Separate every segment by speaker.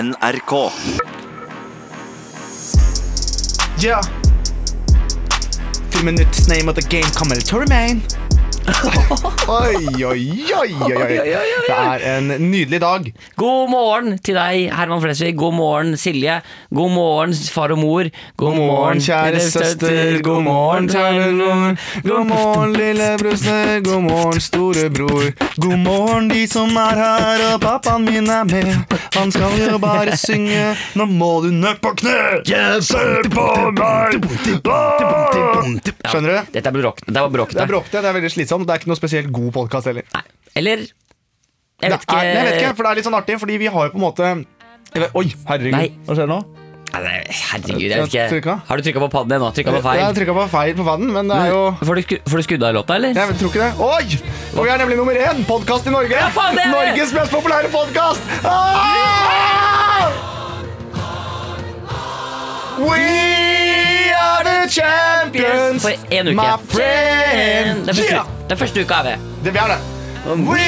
Speaker 1: NRK.
Speaker 2: Ja. Til minutt name of the game Camel Tormain. oi, oi, oi, oi, oi. Det er en nydelig dag.
Speaker 3: God morgen til deg, Herman Flesvig. God morgen, Silje. God morgen, far og mor.
Speaker 2: God morgen, kjære søster. God morgen, kjære mor. God morgen, lille bruster. God morgen, storebror. God morgen, de som er her, og pappaen min er med. Han skal jo bare synge. Nå må du ned på kne! Kjenn på meg!
Speaker 3: Ja,
Speaker 2: Skjønner du?
Speaker 3: Dette er bråk. Det var bråkete.
Speaker 2: Det er bråkete, det er veldig slitsomt. Det er ikke noe spesielt god podkast heller.
Speaker 3: Nei. Eller Jeg
Speaker 2: Det
Speaker 3: vet ikke.
Speaker 2: er, jeg vet ikke, for det er litt sånn artig, fordi vi har jo på en måte jeg vet- Oi, herregud,
Speaker 3: Nei.
Speaker 2: hva skjer nå?
Speaker 3: Nei, nei, herregud, jeg vet
Speaker 2: Trykka?
Speaker 3: ikke. Har du trykka på padden din nå? Trykka på
Speaker 2: Jeg
Speaker 3: feil? Mm.
Speaker 2: trykka på feil på faden, men det er jo
Speaker 3: Får du, sku- får du skudd av låta, eller?
Speaker 2: Jeg tror ikke det. Oi! Og vi er nemlig nummer én podkast i Norge!
Speaker 3: Ja, faen, det er det!
Speaker 2: Norges mest populære Ah! podkast! We are the champions,
Speaker 3: For en uke.
Speaker 2: my friend.
Speaker 3: Det er første,
Speaker 2: Ja,
Speaker 3: det er første uka er vi.
Speaker 2: det vi er det. We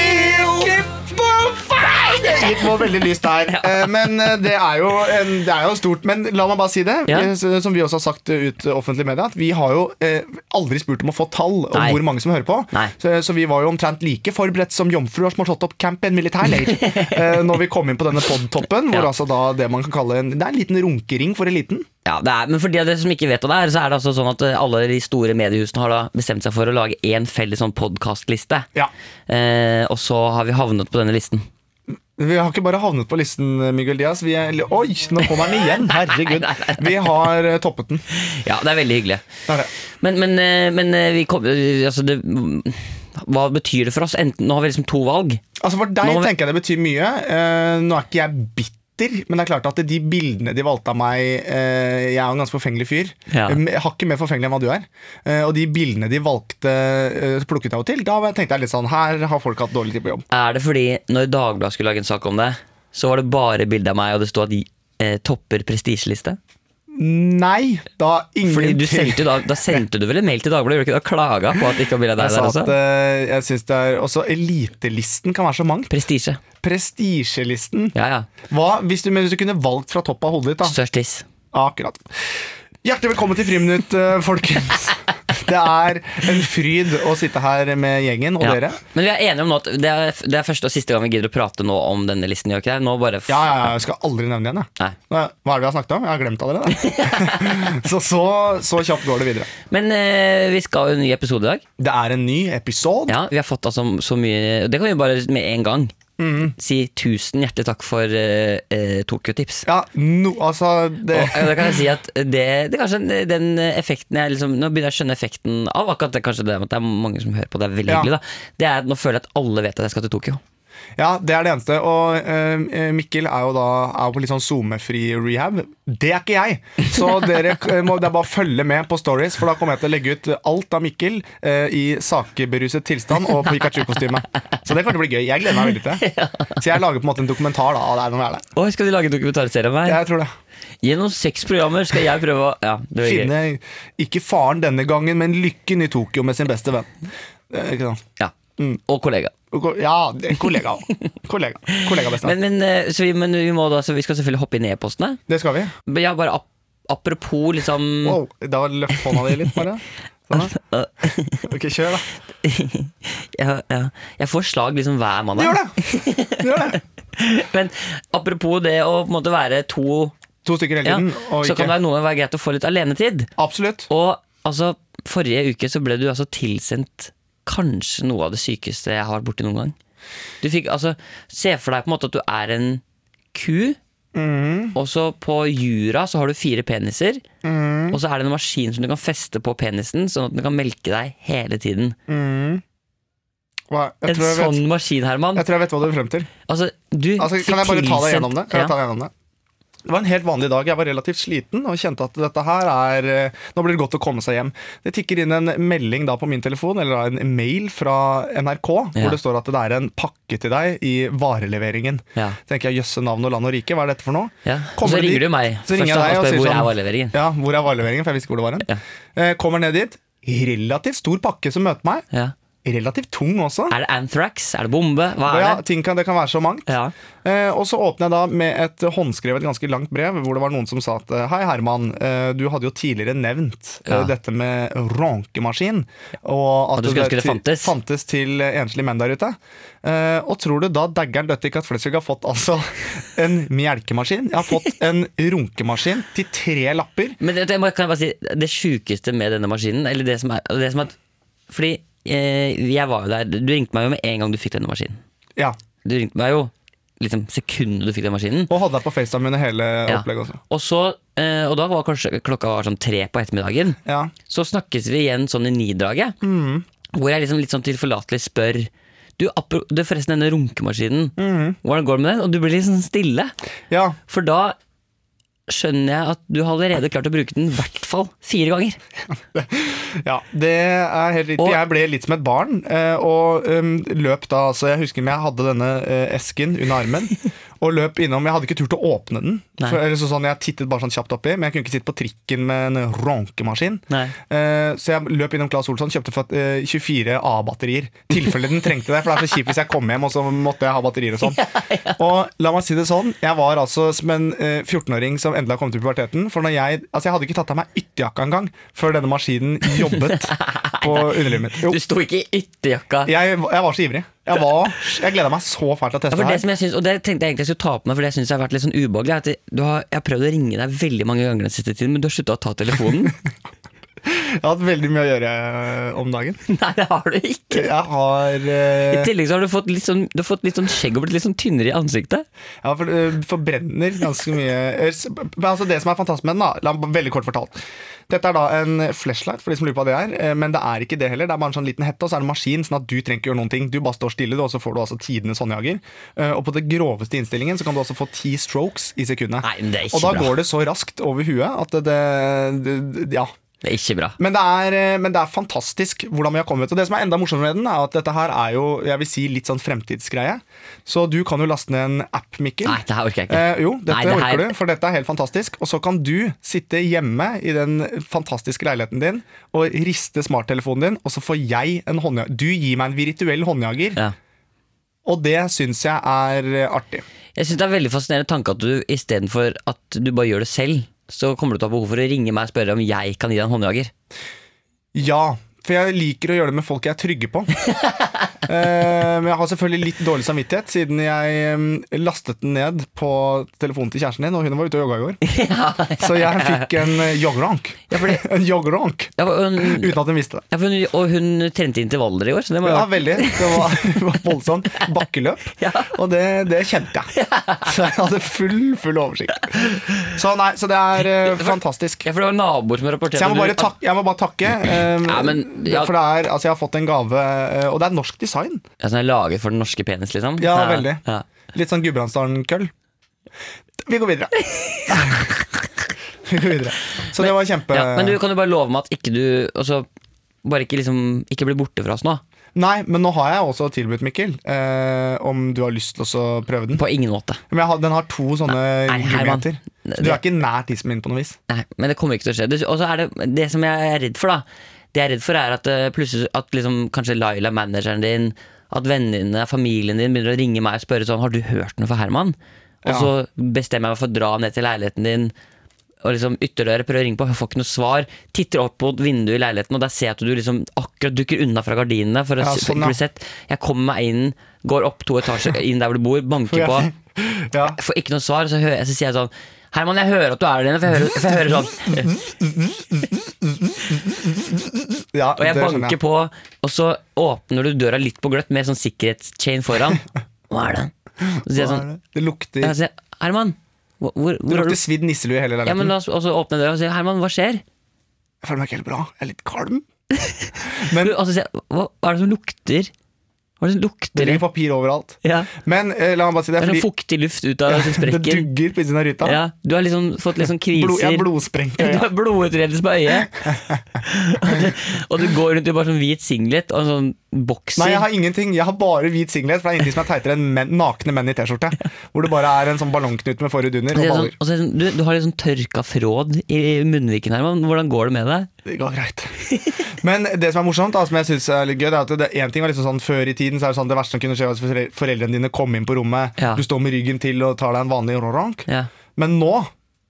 Speaker 2: Det gikk på veldig lyst der. Eh, Men eh, det er, jo en, det er jo stort. Men la meg bare si det,
Speaker 3: Ja.
Speaker 2: eh, s- som vi også har sagt eh, ut eh, offentlig media, at vi har jo eh, aldri spurt om å få tall om
Speaker 3: Nei.
Speaker 2: hvor mange som hører på.
Speaker 3: Nei.
Speaker 2: Så, så vi var jo omtrent like forberedt som jomfruer som har slått opp camp i en militærleir. eh, når vi kom inn på denne podtoppen, hvor
Speaker 3: Ja.
Speaker 2: altså da det man kan kalle en, det er en liten runkering for eliten.
Speaker 3: Ja, det er, men for de av dere som ikke vet hva det er, så er det altså sånn at eh, alle de store mediehusene har da bestemt seg for å lage én felles sånn podkastliste.
Speaker 2: Ja.
Speaker 3: Eh, og så har vi havnet på denne listen.
Speaker 2: Vi har ikke bare havnet på listen, Miguel Diaz. Vi er, oi, nå kom han igjen! Herregud.
Speaker 3: Nei, nei,
Speaker 2: Vi har eh, toppet den.
Speaker 3: Ja, det er veldig hyggelig.
Speaker 2: Det er det.
Speaker 3: Men, men, eh, men eh, vi kom, eh, altså det, Hva betyr det for oss? Enten, nå har vi liksom to valg.
Speaker 2: Altså For deg
Speaker 3: Nå må vi-
Speaker 2: tenker jeg det betyr mye. Eh, nå er ikke jeg bitter, men det er klart at de bildene de valgte av meg eh, Jeg er jo en ganske forfengelig fyr.
Speaker 3: Ja.
Speaker 2: Eh, Hakket mer forfengelig enn hva du er. Eh, og de bildene de valgte, eh, plukket jeg jo til. Da var- tenkte jeg litt sånn Her har folk hatt dårlig tid på jobb.
Speaker 3: Er det fordi når Dagbladet skulle lage en sak om det, så var det bare bilde av meg, og det sto at de eh, topper prestisjeliste?
Speaker 2: Nei, da ingen
Speaker 3: Fordi du sendte, jo da, da sendte du vel en mail til Dagbladet? Gjorde du ikke det? Og klaga på at det ikke var bilde av
Speaker 2: Jeg
Speaker 3: deg
Speaker 2: sa
Speaker 3: der
Speaker 2: at
Speaker 3: også?
Speaker 2: eh, jeg synes det er Også elitelisten kan være så mangt.
Speaker 3: Prestisje.
Speaker 2: Prestisjelisten.
Speaker 3: Ja, ja.
Speaker 2: Hva hvis du, men hvis du kunne valgt fra toppen av hodet ditt, da?
Speaker 3: Størst tiss.
Speaker 2: Akkurat. Hjertelig velkommen til Friminutt, eh, folkens. Det er en fryd å sitte her med gjengen og
Speaker 3: Ja.
Speaker 2: dere.
Speaker 3: Men vi er enige om nå at det er, det er første og siste gang vi gidder å prate nå om denne listen. Gjør ikke det? Nå bare f
Speaker 2: Ja, ja, ja, jeg skal aldri nevne igjen, jeg.
Speaker 3: Nei.
Speaker 2: Nå, Hva er det vi har snakket om? Jeg har glemt allerede. så, så, så kjapt går det videre.
Speaker 3: Men eh, vi skal jo en ny episode i dag.
Speaker 2: Det er en ny episode.
Speaker 3: Ja, Vi har fått altså så mye Det kan vi bare med en gang
Speaker 2: Mm.
Speaker 3: si tusen hjertelig takk for eh, eh, Tokyo-tips.
Speaker 2: Ja, no, altså det,
Speaker 3: Og eh, da kan jeg si at det, det er kanskje den- den effekten jeg liksom Nå begynner jeg å skjønne effekten av akkurat det kanskje det med at det er mange som hører på. Det er veldig
Speaker 2: Ja.
Speaker 3: hyggelig. da Det er at Nå føler jeg at alle vet at jeg skal til Tokyo.
Speaker 2: Ja, det er det eneste. Og eh, Mikkel er jo da er jo på litt sånn SoMe-fri rehab. Det er ikke jeg! Så dere eh, må det er bare å følge med på stories, for da kommer jeg til å legge ut alt av Mikkel eh, i sakeberuset tilstand og Pikachu-kostyme. Så det kommer til å bli gøy. Jeg gleder meg veldig til det. Så jeg lager på en måte en dokumentar da, av det her når vi er der.
Speaker 3: Oi, skal de lage en dokumentarserie om meg?
Speaker 2: Jeg tror det.
Speaker 3: Gjennom seks programmer skal jeg prøve å Ja, det blir gøy.
Speaker 2: Finne ikke faren denne gangen, men lykken i Tokyo med sin beste venn. Eh, Ikke sant?
Speaker 3: Ja.
Speaker 2: Mm.
Speaker 3: Og kollega.
Speaker 2: Og ko- Ja, det er kollega. Kollega, kollega best venn.
Speaker 3: Men, men, eh, så vi, men vi, må da, så vi skal selvfølgelig hoppe inn i e-postene.
Speaker 2: Det skal vi.
Speaker 3: Men Ja, bare ap apropos liksom
Speaker 2: Wow, da løft hånda di litt, bare. Sånn her.
Speaker 3: Øh,
Speaker 2: Ok, kjør da
Speaker 3: ja, ja. Jeg får slag liksom hver
Speaker 2: Du
Speaker 3: mandag.
Speaker 2: gjør det! Du gjør det.
Speaker 3: Men apropos det å på en måte være to,
Speaker 2: To stykker hele
Speaker 3: ja,
Speaker 2: tiden. og
Speaker 3: så
Speaker 2: ikke.
Speaker 3: kan det noen være greit å få litt alenetid.
Speaker 2: Absolutt.
Speaker 3: Og altså, forrige uke så ble du altså tilsendt kanskje noe av det sykeste jeg har vært borti noen gang. Du fikk altså Se for deg på en måte at du er en ku.
Speaker 2: Mm,
Speaker 3: Og så på jura så har du fire peniser.
Speaker 2: mm,
Speaker 3: Og så er det en maskin som du kan feste på penisen, sånn at den kan melke deg hele tiden.
Speaker 2: mm. Hva- Jeg
Speaker 3: En
Speaker 2: tror jeg,
Speaker 3: sånn
Speaker 2: vet,
Speaker 3: maskin, Herman.
Speaker 2: jeg tror jeg vet hva du er frem til.
Speaker 3: Altså, du
Speaker 2: Altså,
Speaker 3: fikk
Speaker 2: kan jeg bare ta deg gjennom det? Kan jeg
Speaker 3: ja.
Speaker 2: ta deg gjennom det? Det var en helt vanlig dag. Jeg var relativt sliten og kjente at dette her er eh, Nå blir det godt å komme seg hjem. Det tikker inn en melding da på min telefon, eller da en mail fra NRK,
Speaker 3: Ja.
Speaker 2: hvor det står at det er en pakke til deg i vareleveringen.
Speaker 3: Ja.
Speaker 2: Tenker jeg, Jøsse navn og land og rike, hva er dette for noe?
Speaker 3: Ja. Og
Speaker 2: Kommer
Speaker 3: så
Speaker 2: dit-
Speaker 3: ringer du meg
Speaker 2: Så ringer
Speaker 3: først
Speaker 2: jeg deg
Speaker 3: og
Speaker 2: og
Speaker 3: spør
Speaker 2: sier
Speaker 3: hvor
Speaker 2: sånn,
Speaker 3: er vareleveringen.
Speaker 2: Ja, hvor er vareleveringen? For jeg visste ikke hvor det var hen.
Speaker 3: Ja.
Speaker 2: Eh, Kommer ned dit. Relativt stor pakke som møter meg.
Speaker 3: Ja.
Speaker 2: relativt tung også.
Speaker 3: Er det anthrax? Er det bombe? Hva er
Speaker 2: ja,
Speaker 3: det?
Speaker 2: ting kan, det kan være så mangt.
Speaker 3: Ja.
Speaker 2: Eh, og så åpner jeg da med et håndskrevet ganske langt brev, hvor det var noen som sa at Hei, Herman, eh, du hadde jo tidligere nevnt eh,
Speaker 3: Ja.
Speaker 2: dette med ronkemaskin. Og at
Speaker 3: Og du skulle ønske det
Speaker 2: til-
Speaker 3: fantes.
Speaker 2: fantes til eh, enslige menn der ute. Eh, og tror du da daggeren døtte ikke at Flesvig har fått altså en melkemaskin? Jeg har fått en runkemaskin til tre lapper.
Speaker 3: Men det, det, må- kan jeg bare si Det sjukeste med denne maskinen Eller det som er, det som er Fordi eh, jeg var jo der Du ringte meg jo med en gang du fikk denne maskinen
Speaker 2: Ja,
Speaker 3: Du ringte meg jo liksom sekundet du fikk den maskinen
Speaker 2: Og hadde deg på FaceTime under hele
Speaker 3: Ja.
Speaker 2: opplegget også.
Speaker 3: Og så eh, Og da var kanskje klokka var sånn tre på ettermiddagen
Speaker 2: Ja.
Speaker 3: Så snakkes vi igjen sånn i nidraget
Speaker 2: Mm.
Speaker 3: Hvor jeg liksom litt sånn tilforlatelig spør Du, appro- det er forresten denne runkemaskinen Hvordan går det med den? Og du blir litt sånn stille
Speaker 2: ja.
Speaker 3: For da skjønner jeg at du har allerede klart å bruke den i hvert fall fire ganger.
Speaker 2: Ja, det er helt riktig.
Speaker 3: Og-
Speaker 2: jeg ble litt som et barn, eh, og um, løp da altså Jeg husker jeg hadde denne eh, esken under armen, og løp innom. Jeg hadde ikke turt å åpne den.
Speaker 3: Nei.
Speaker 2: For, eller så sånn, jeg tittet bare sånn kjapt oppi, men jeg kunne ikke sitte på trikken med en ronkemaskin.
Speaker 3: Nei.
Speaker 2: Eh, så jeg løp innom Claes Olsson, kjøpte fa- eh, 24 A-batterier. I tilfelle den trengte det, for det er så kjipt hvis jeg kom hjem og så måtte jeg ha batterier og sånn. Og la meg si det sånn, jeg var altså som en eh, 14-åring som endelig har kommet i puberteten. For når jeg, altså jeg hadde ikke tatt av meg ytterjakka engang før denne maskinen jobbet på underlivet mitt. Jo,
Speaker 3: Du sto ikke i ytterjakka. Ja,
Speaker 2: jeg, jeg var så ivrig. Jeg, var- jeg gleda meg så fælt til å teste
Speaker 3: for
Speaker 2: det
Speaker 3: det
Speaker 2: her.
Speaker 3: som jeg synes, og det tenkte jeg egentlig jeg skulle ta på meg, for det syns jeg har vært litt sånn ubehagelig. er At det- du har, jeg har prøvd å ringe deg veldig mange ganger den siste tiden, men du har slutta å ta telefonen.
Speaker 2: Jeg har hatt veldig mye å gjøre eh, om dagen.
Speaker 3: Nei, det har du ikke.
Speaker 2: Jeg har eh,
Speaker 3: I tillegg så har du fått litt sånn, du har fått litt sånn skjegg og blitt litt sånn tynnere i ansiktet.
Speaker 2: Ja, for, øh, forbrenner ganske mye Eh, s- men altså Det som er fantastisk med den, da la, meg- veldig kort fortalt Dette er da en flashlight, for de som lurer på hva det er. eh, Men det er ikke det heller. Det er bare en sånn liten hette, og så er det en maskin, sånn at du trenger ikke gjøre noen ting. Du bare står stille, du, og så får du altså tidenes håndjager. Eh, Og på det groveste innstillingen så kan du også få ti strokes i sekundet.
Speaker 3: Nei, men det er ikke
Speaker 2: og da
Speaker 3: bra.
Speaker 2: går det så raskt over huet at det, det, det Ja.
Speaker 3: Det er ikke bra.
Speaker 2: Men det, er, eh, men det er fantastisk hvordan vi har kommet. Og det som er enda morsommere med den, er at dette her er jo jeg vil si, litt sånn fremtidsgreie. Så du kan jo laste ned en app, Mikkel.
Speaker 3: Nei, det her orker jeg ikke.
Speaker 2: Eh, jo, dette
Speaker 3: Nei, det her-
Speaker 2: orker du, for dette er helt fantastisk. Og så kan du sitte hjemme i den fantastiske leiligheten din og riste smarttelefonen din, og så får jeg en håndjager. Du gir meg en virtuell håndjager,
Speaker 3: Ja.
Speaker 2: og det syns jeg er eh, artig.
Speaker 3: Jeg synes det er veldig fascinerende tanke at du istedenfor at du bare gjør det selv, så kommer du til å ha behov for å ringe meg og spørre om jeg kan gi deg en håndjager.
Speaker 2: Ja, for jeg liker å gjøre det med folk jeg er trygge på. Eh, men jeg har selvfølgelig litt dårlig samvittighet, siden jeg eh, lastet den ned på telefonen til kjæresten din, og hun var ute og jogga i går. Så jeg fikk en eh, joggerank. en joggerank
Speaker 3: Ja, og en-
Speaker 2: uten at hun visste det.
Speaker 3: Ja, for hun, og hun trente intervaller i år, så det må
Speaker 2: Ja,
Speaker 3: jo
Speaker 2: veldig. Det var, det var voldsomt. Bakkeløp.
Speaker 3: Ja.
Speaker 2: Og det, det kjente jeg. Så jeg hadde full, full oversikt. Så nei, så det er eh, fantastisk.
Speaker 3: ja, for det var naboer som rapporterte
Speaker 2: Så jeg må
Speaker 3: at
Speaker 2: bare
Speaker 3: du-
Speaker 2: takke. Jeg må bare takke eh,
Speaker 3: Ja, men- ja.
Speaker 2: For det er, altså, jeg har fått en gave, eh, og det er norsk design.
Speaker 3: Ja, sånn er laget for den norske penis, liksom?
Speaker 2: Ja, veldig.
Speaker 3: Ja.
Speaker 2: Litt sånn Gudbrandsdalen-køll. Vi går videre. Vi går videre. Så det var kjempe...
Speaker 3: Ja, men du kan jo bare love meg at ikke du altså, Bare ikke liksom Ikke bli borte fra oss nå.
Speaker 2: Nei, men nå har jeg også tilbudt, Mikkel, eh, om du har lyst til å prøve den.
Speaker 3: På ingen måte.
Speaker 2: Men jeg har, den har to sånne
Speaker 3: Nei, Herman.
Speaker 2: gummihenter. Så du er ikke nær tissen min på noe vis.
Speaker 3: Nei, men det kommer ikke til å skje. Det- Og så er det det som jeg er redd for, da. Det jeg er redd for, er at eh, plutselig at liksom kanskje Laila, manageren din, at vennene dine, familien din begynner å ringe meg og spørre sånn Har du hørt noe fra Herman? Og
Speaker 2: Ja.
Speaker 3: så bestemmer jeg meg for å dra ned til leiligheten din. Og liksom ytterdøra prøver å ringe på, jeg får ikke noe svar. Titter opp mot vinduet i leiligheten, og der ser jeg at du liksom akkurat dukker unna fra gardinene. For å
Speaker 2: Ja,
Speaker 3: s-
Speaker 2: sånn, ja.
Speaker 3: bli sett. Jeg kommer meg inn, går opp to etasjer inn der hvor du bor, banker på.
Speaker 2: Ja.
Speaker 3: Jeg får ikke noe svar, så, hører, jeg- så sier jeg sånn Herman, jeg hører at du er der inne, for jeg hører, for jeg hører sånn.
Speaker 2: Ja,
Speaker 3: Og jeg
Speaker 2: det skjønner
Speaker 3: banker på, og så åpner du døra litt på gløtt med sånn sikkerhetschain foran. Hva er det? Så sier jeg
Speaker 2: Hva
Speaker 3: sånn
Speaker 2: er det? Det lukter,
Speaker 3: jeg sier, Herman, hvor, hvor,
Speaker 2: det
Speaker 3: hvor har du
Speaker 2: lukter svidd nisselue i hele
Speaker 3: ja, men
Speaker 2: leiligheten.
Speaker 3: la oss og så åpner jeg døra og sier Herman, hva skjer?
Speaker 2: Jeg føler meg ikke helt bra. Jeg er litt kalm.
Speaker 3: Du, og så sier jeg, hva, hva er det som lukter? Hva er det som
Speaker 2: Det
Speaker 3: lukter?
Speaker 2: ligger papir overalt.
Speaker 3: Ja.
Speaker 2: Men eh, la meg bare si det, er
Speaker 3: Det er sånn
Speaker 2: fordi
Speaker 3: fuktig luft ut av som
Speaker 2: det
Speaker 3: sprekker.
Speaker 2: dugger på innsiden av ruta.
Speaker 3: Ja, du har liksom fått litt sånn kriser.
Speaker 2: Blod, jeg er blodsprengt. i
Speaker 3: Du
Speaker 2: øya.
Speaker 3: har blodutredelse på øyet. og, du, og du går rundt i bare sånn hvit singlet og en sånn bokser.
Speaker 2: Nei, jeg har ingenting. Jeg har bare hvit singlet, for det er ingenting som er teitere enn menn, nakne menn i T-skjorte. Hvor det bare er en sånn ballongknut med forhud under
Speaker 3: Det
Speaker 2: og
Speaker 3: er sånn,
Speaker 2: baller.
Speaker 3: og så er det sånn, du, du har litt sånn tørka fråd i munnviken, Herman. Hvordan går det med deg?
Speaker 2: Det går greit. Men det som er morsomt, da, som jeg synes er litt gøy, det er at det- en ting var liksom sånn før i tiden, så er det sånn det verste som kunne skje, var at forel- foreldrene dine kom inn på rommet,
Speaker 3: Ja.
Speaker 2: du står med ryggen til og tar deg en vanlig rorank.
Speaker 3: Ja.
Speaker 2: Men nå,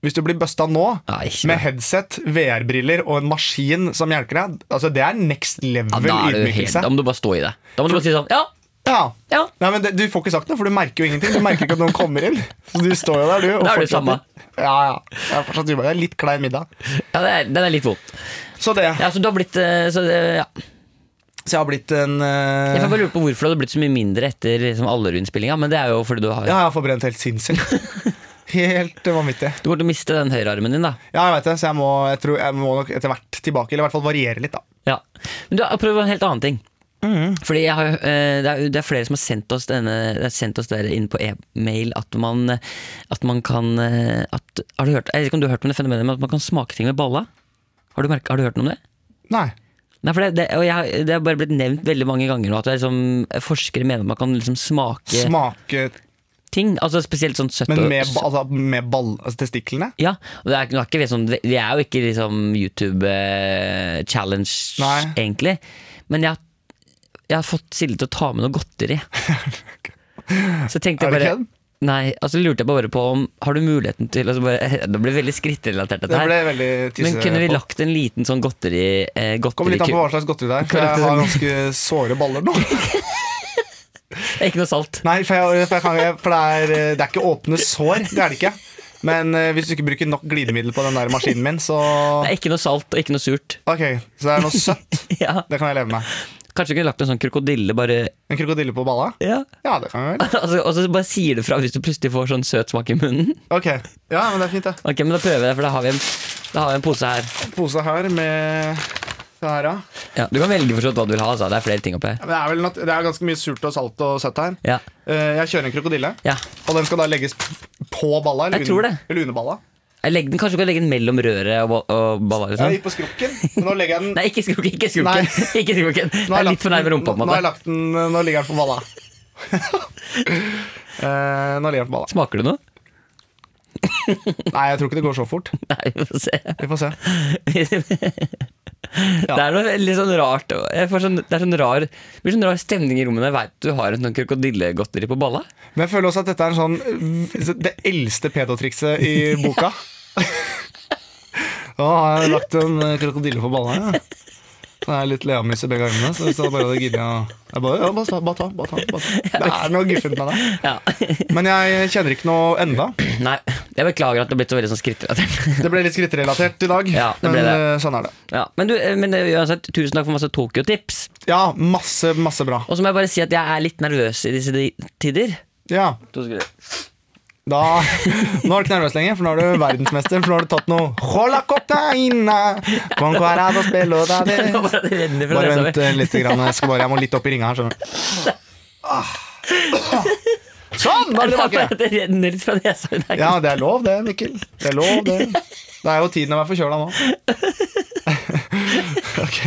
Speaker 2: hvis du blir busta nå,
Speaker 3: Nei, ikke
Speaker 2: med
Speaker 3: bra.
Speaker 2: headset, VR-briller og en maskin som hjelper deg, altså det er next
Speaker 3: Ja,
Speaker 2: level
Speaker 3: da, er du helt,
Speaker 2: ydmykelse.
Speaker 3: da må du bare stå i det. Da må du bare si sånn Ja!
Speaker 2: Ja.
Speaker 3: ja
Speaker 2: Nei, men det, Du får ikke sagt noe, for du merker jo ingenting. Du merker ikke at noen kommer inn. Så du står jo der, du. og
Speaker 3: Da er det
Speaker 2: fortsetter.
Speaker 3: samme.
Speaker 2: Ja, ja. Jeg er fortsatt ubehagelig. Jeg er Litt klein middag.
Speaker 3: ja det er, Den er litt vondt.
Speaker 2: Så det.
Speaker 3: Ja, så du har blitt eh, så, det- ja.
Speaker 2: Så jeg har blitt en eh,
Speaker 3: Jeg får bare lure på Hvorfor det har blitt så mye mindre etter liksom, Allerud-innspillinga, men det er jo fordi du har
Speaker 2: Ja, jeg har forbrent helt sinnssykt. Helt eh, vanvittig.
Speaker 3: Du kommer til å miste den høyrearmen din, da.
Speaker 2: Ja, jeg vet det, så jeg må, jeg, tror, jeg må nok etter hvert tilbake, eller i hvert fall variere litt, da.
Speaker 3: Ja. Men du har prøvd en helt annen ting.
Speaker 2: Mm.
Speaker 3: Fordi jeg har, eh, det, er, det er flere som har sendt oss, denne, det er sendt oss dere inn på e-mail at man, eh, at man kan eh, at, har du hørt, Jeg vet ikke om du har hørt om det fenomenet men at man kan smake ting med balla? Har du, merket- har du hørt noe om det?
Speaker 2: Nei.
Speaker 3: Nei, for det, det, og jeg, har- det har bare blitt nevnt veldig mange ganger nå at det er liksom, forskere mener at man kan liksom smake
Speaker 2: Smake
Speaker 3: ting. Altså Spesielt sånn søtt
Speaker 2: Men
Speaker 3: og
Speaker 2: med, ba- altså, med ball, altså testiklene?
Speaker 3: Ja, og det er, ikke- nå er ikke vi sånn, vi er jo ikke liksom YouTube-challenge,
Speaker 2: Nei.
Speaker 3: egentlig. Men jeg, jeg har fått Silje til å ta med noe godteri. Så tenkte jeg
Speaker 2: Er det
Speaker 3: bare
Speaker 2: kødd?
Speaker 3: Nei, altså lurte jeg bare på om Har du muligheten til altså bare, Det ble veldig skrittrelatert, dette
Speaker 2: Det ble
Speaker 3: her.
Speaker 2: veldig
Speaker 3: Men
Speaker 2: tisse...
Speaker 3: kunne vi
Speaker 2: på.
Speaker 3: lagt en liten sånn godteri... Eh,
Speaker 2: Kommer litt an på
Speaker 3: godteriku-
Speaker 2: hva slags godteri det er, for jeg har ganske såre baller nå.
Speaker 3: Ikke noe salt.
Speaker 2: Nei, for, jeg, for, jeg kan, ikke- for det, er, eh, det er ikke åpne sår. Det er det ikke. Men eh, hvis du ikke bruker nok glidemiddel på den der maskinen min, så
Speaker 3: Det er ikke noe salt og ikke noe surt.
Speaker 2: Ok, så det er noe søtt.
Speaker 3: Ja.
Speaker 2: Det kan jeg leve med.
Speaker 3: Kanskje vi kunne lagt en sånn krokodille, bare
Speaker 2: En krokodille på balla?
Speaker 3: Ja.
Speaker 2: Ja, det kan vi vel.
Speaker 3: Altså, og så bare sier du fra hvis du plutselig får sånn søt smak i munnen.
Speaker 2: Ok, ja, men det er fint, det.
Speaker 3: Ok, men da prøver jeg, for da har vi en, da har vi en pose her.
Speaker 2: Pose her med det her, ja.
Speaker 3: Ja, du kan velge for så vidt hva du vil ha. Altså. Det er flere ting oppi her.
Speaker 2: Ja, men Det er, vel nat- det er ganske mye surt og salt og søtt her.
Speaker 3: Ja.
Speaker 2: Eh, Jeg kjører en krokodille,
Speaker 3: ja.
Speaker 2: og den skal da legges på balla. Eller,
Speaker 3: Jeg tror
Speaker 2: under-
Speaker 3: det.
Speaker 2: eller under balla.
Speaker 3: Jeg legger den, kanskje du kan legge den mellom røret og, ba- og balla?
Speaker 2: Jeg
Speaker 3: Liksom.
Speaker 2: gikk på skrukken, men nå legger jeg den
Speaker 3: Nei, ikke skrukken! Ikke skrukken. ikke skrukken.
Speaker 2: Nå
Speaker 3: Det
Speaker 2: har jeg
Speaker 3: er
Speaker 2: lagt
Speaker 3: litt for nærme
Speaker 2: den-
Speaker 3: rumpa. på en
Speaker 2: Nå har jeg
Speaker 3: måte
Speaker 2: lagt den Nå ligger den på balla. Eh, nå ligger den på balla.
Speaker 3: Smaker du noe?
Speaker 2: Nei, jeg tror ikke det går så fort.
Speaker 3: Nei, vi får se.
Speaker 2: Vi får se.
Speaker 3: Det er noe litt sånn rart jeg får sånn, Det er sånn rar, det blir sånn rar stemning i rommet når jeg veit du har en sånn krokodillegodteri på balla.
Speaker 2: Men jeg føler også at dette er en sånn v- det eldste pedotrikset i boka. Nå har jeg lagt en eh, krokodille på balla. Ja. Det er litt leamus i begge armene. Så hvis jeg bare hadde giddet å jeg bare, ja, bare, ta- bare ta, bare ta, bare ta. Det er noe guffent med det.
Speaker 3: Ja.
Speaker 2: Men jeg kjenner ikke noe enda.
Speaker 3: Nei, jeg beklager at det har blitt så veldig sånn skrittrelatert.
Speaker 2: Det ble litt skrittrelatert i dag,
Speaker 3: Ja, det ble
Speaker 2: men
Speaker 3: det.
Speaker 2: eh, sånn er det.
Speaker 3: Ja, men, du, eh, men eh, uansett, tusen takk for masse Tokyo-tips.
Speaker 2: Ja, masse, masse bra.
Speaker 3: Og så må jeg bare si at jeg er litt nervøs i disse di- tider.
Speaker 2: Ja,
Speaker 3: To sekunder.
Speaker 2: da, Nå er du ikke nervøs lenger, for nå er du verdensmester. For nå har du tatt noe Hola cocaina, con cuadrado spelo da de».
Speaker 3: Det var bare at det renner fra
Speaker 2: Bare
Speaker 3: nesa
Speaker 2: vent
Speaker 3: mi.
Speaker 2: eh, litt. Grann. Jeg, skal bare, jeg må litt opp i ringa her, skjønner du. Ah. Ah. Sånn, da er vi
Speaker 3: Det var bare
Speaker 2: tilbake.
Speaker 3: at det renner litt fra nesa mi. Det er ikke-
Speaker 2: Ja, det er lov, det, Mikkel. Det er lov, det. Det er jo tiden å være forkjøla nå. Ok,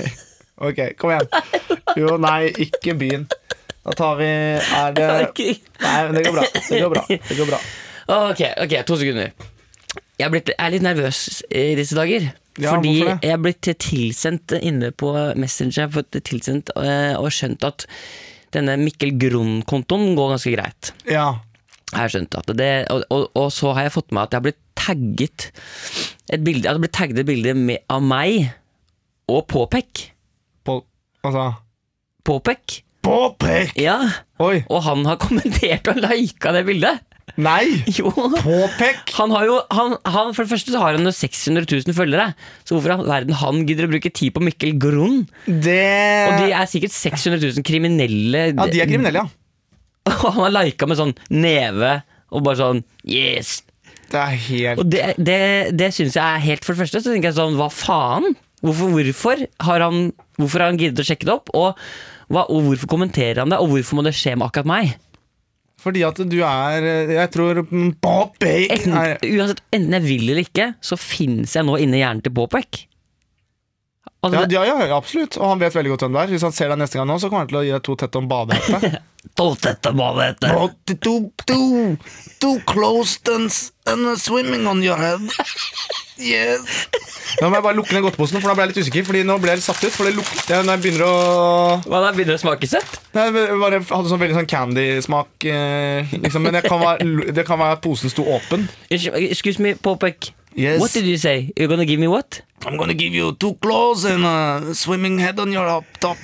Speaker 2: ok, kom igjen. Jo, nei, ikke byen. Da tar vi Er det
Speaker 3: Ok.
Speaker 2: Nei, men det går bra. Det går bra. Det går bra.
Speaker 3: Ok, ok, to sekunder. Jeg er, blitt, jeg er litt nervøs i disse dager.
Speaker 2: Ja,
Speaker 3: fordi
Speaker 2: hvorfor det?
Speaker 3: jeg er blitt tilsendt inne på Messenger Jeg har fått tilsendt eh, og skjønt at denne Mikkel Grunn-kontoen går ganske greit.
Speaker 2: Ja.
Speaker 3: Jeg har skjønt at det, og, og, og så har jeg fått med at jeg har blitt tagget et bilde, jeg har blitt tagget et bilde med, av meg og Påpek.
Speaker 2: På, altså
Speaker 3: Påpek?
Speaker 2: Påpek!
Speaker 3: Ja.
Speaker 2: Oi.
Speaker 3: Og han har kommentert og lika det bildet.
Speaker 2: Nei!
Speaker 3: Jo.
Speaker 2: Påpek!
Speaker 3: Han har jo, han, han, for det første så har han jo 600 000 følgere, så hvorfor i all verden han gidder å bruke tid på Mikkel Grunn?
Speaker 2: Det
Speaker 3: Og de er sikkert 600 000 kriminelle.
Speaker 2: Eh. Ja, de er kriminelle, ja.
Speaker 3: Og han har lika med sånn neve og bare sånn Yes!
Speaker 2: Det er helt
Speaker 3: Og det, det, det syns jeg er helt For det første så tenker jeg sånn, hva faen? Hvorfor, hvorfor har han Hvorfor har han giddet å sjekke det opp? Og, hva, og hvorfor kommenterer han det? Og hvorfor må det skje med akkurat meg?
Speaker 2: Fordi at du er eh, Jeg tror mm, Påpek!
Speaker 3: Enten,
Speaker 2: er-
Speaker 3: uansett, enten jeg vil eller ikke, så fins jeg nå inni hjernen til Bobek.
Speaker 2: Ja,
Speaker 3: Og Altså, det,
Speaker 2: ja, ja, absolutt. Og han vet veldig godt hvem det er. Hvis han ser deg neste gang nå, så kommer han til å gi deg to tett om badehette.
Speaker 3: Tolltette, hva det heter.
Speaker 2: Two, two, two close dance and swimming on your head. Yes. Nå må jeg bare lukke ned godteposen, for da ble jeg litt usikker. Fordi nå ble jeg litt satt ut. For det lukter Når jeg begynner å
Speaker 3: Hva da, begynner det å smake søtt?
Speaker 2: Nei, Jeg bare hadde sånn veldig sånn candy-smak. Eh, liksom. Men det kan, være, det kan være at posen sto åpen.
Speaker 3: Excuse me, Popek.
Speaker 2: Yes.
Speaker 3: What did you say? You're gonna give me what?
Speaker 2: I'm gonna give you two claws and a swimming head on your top.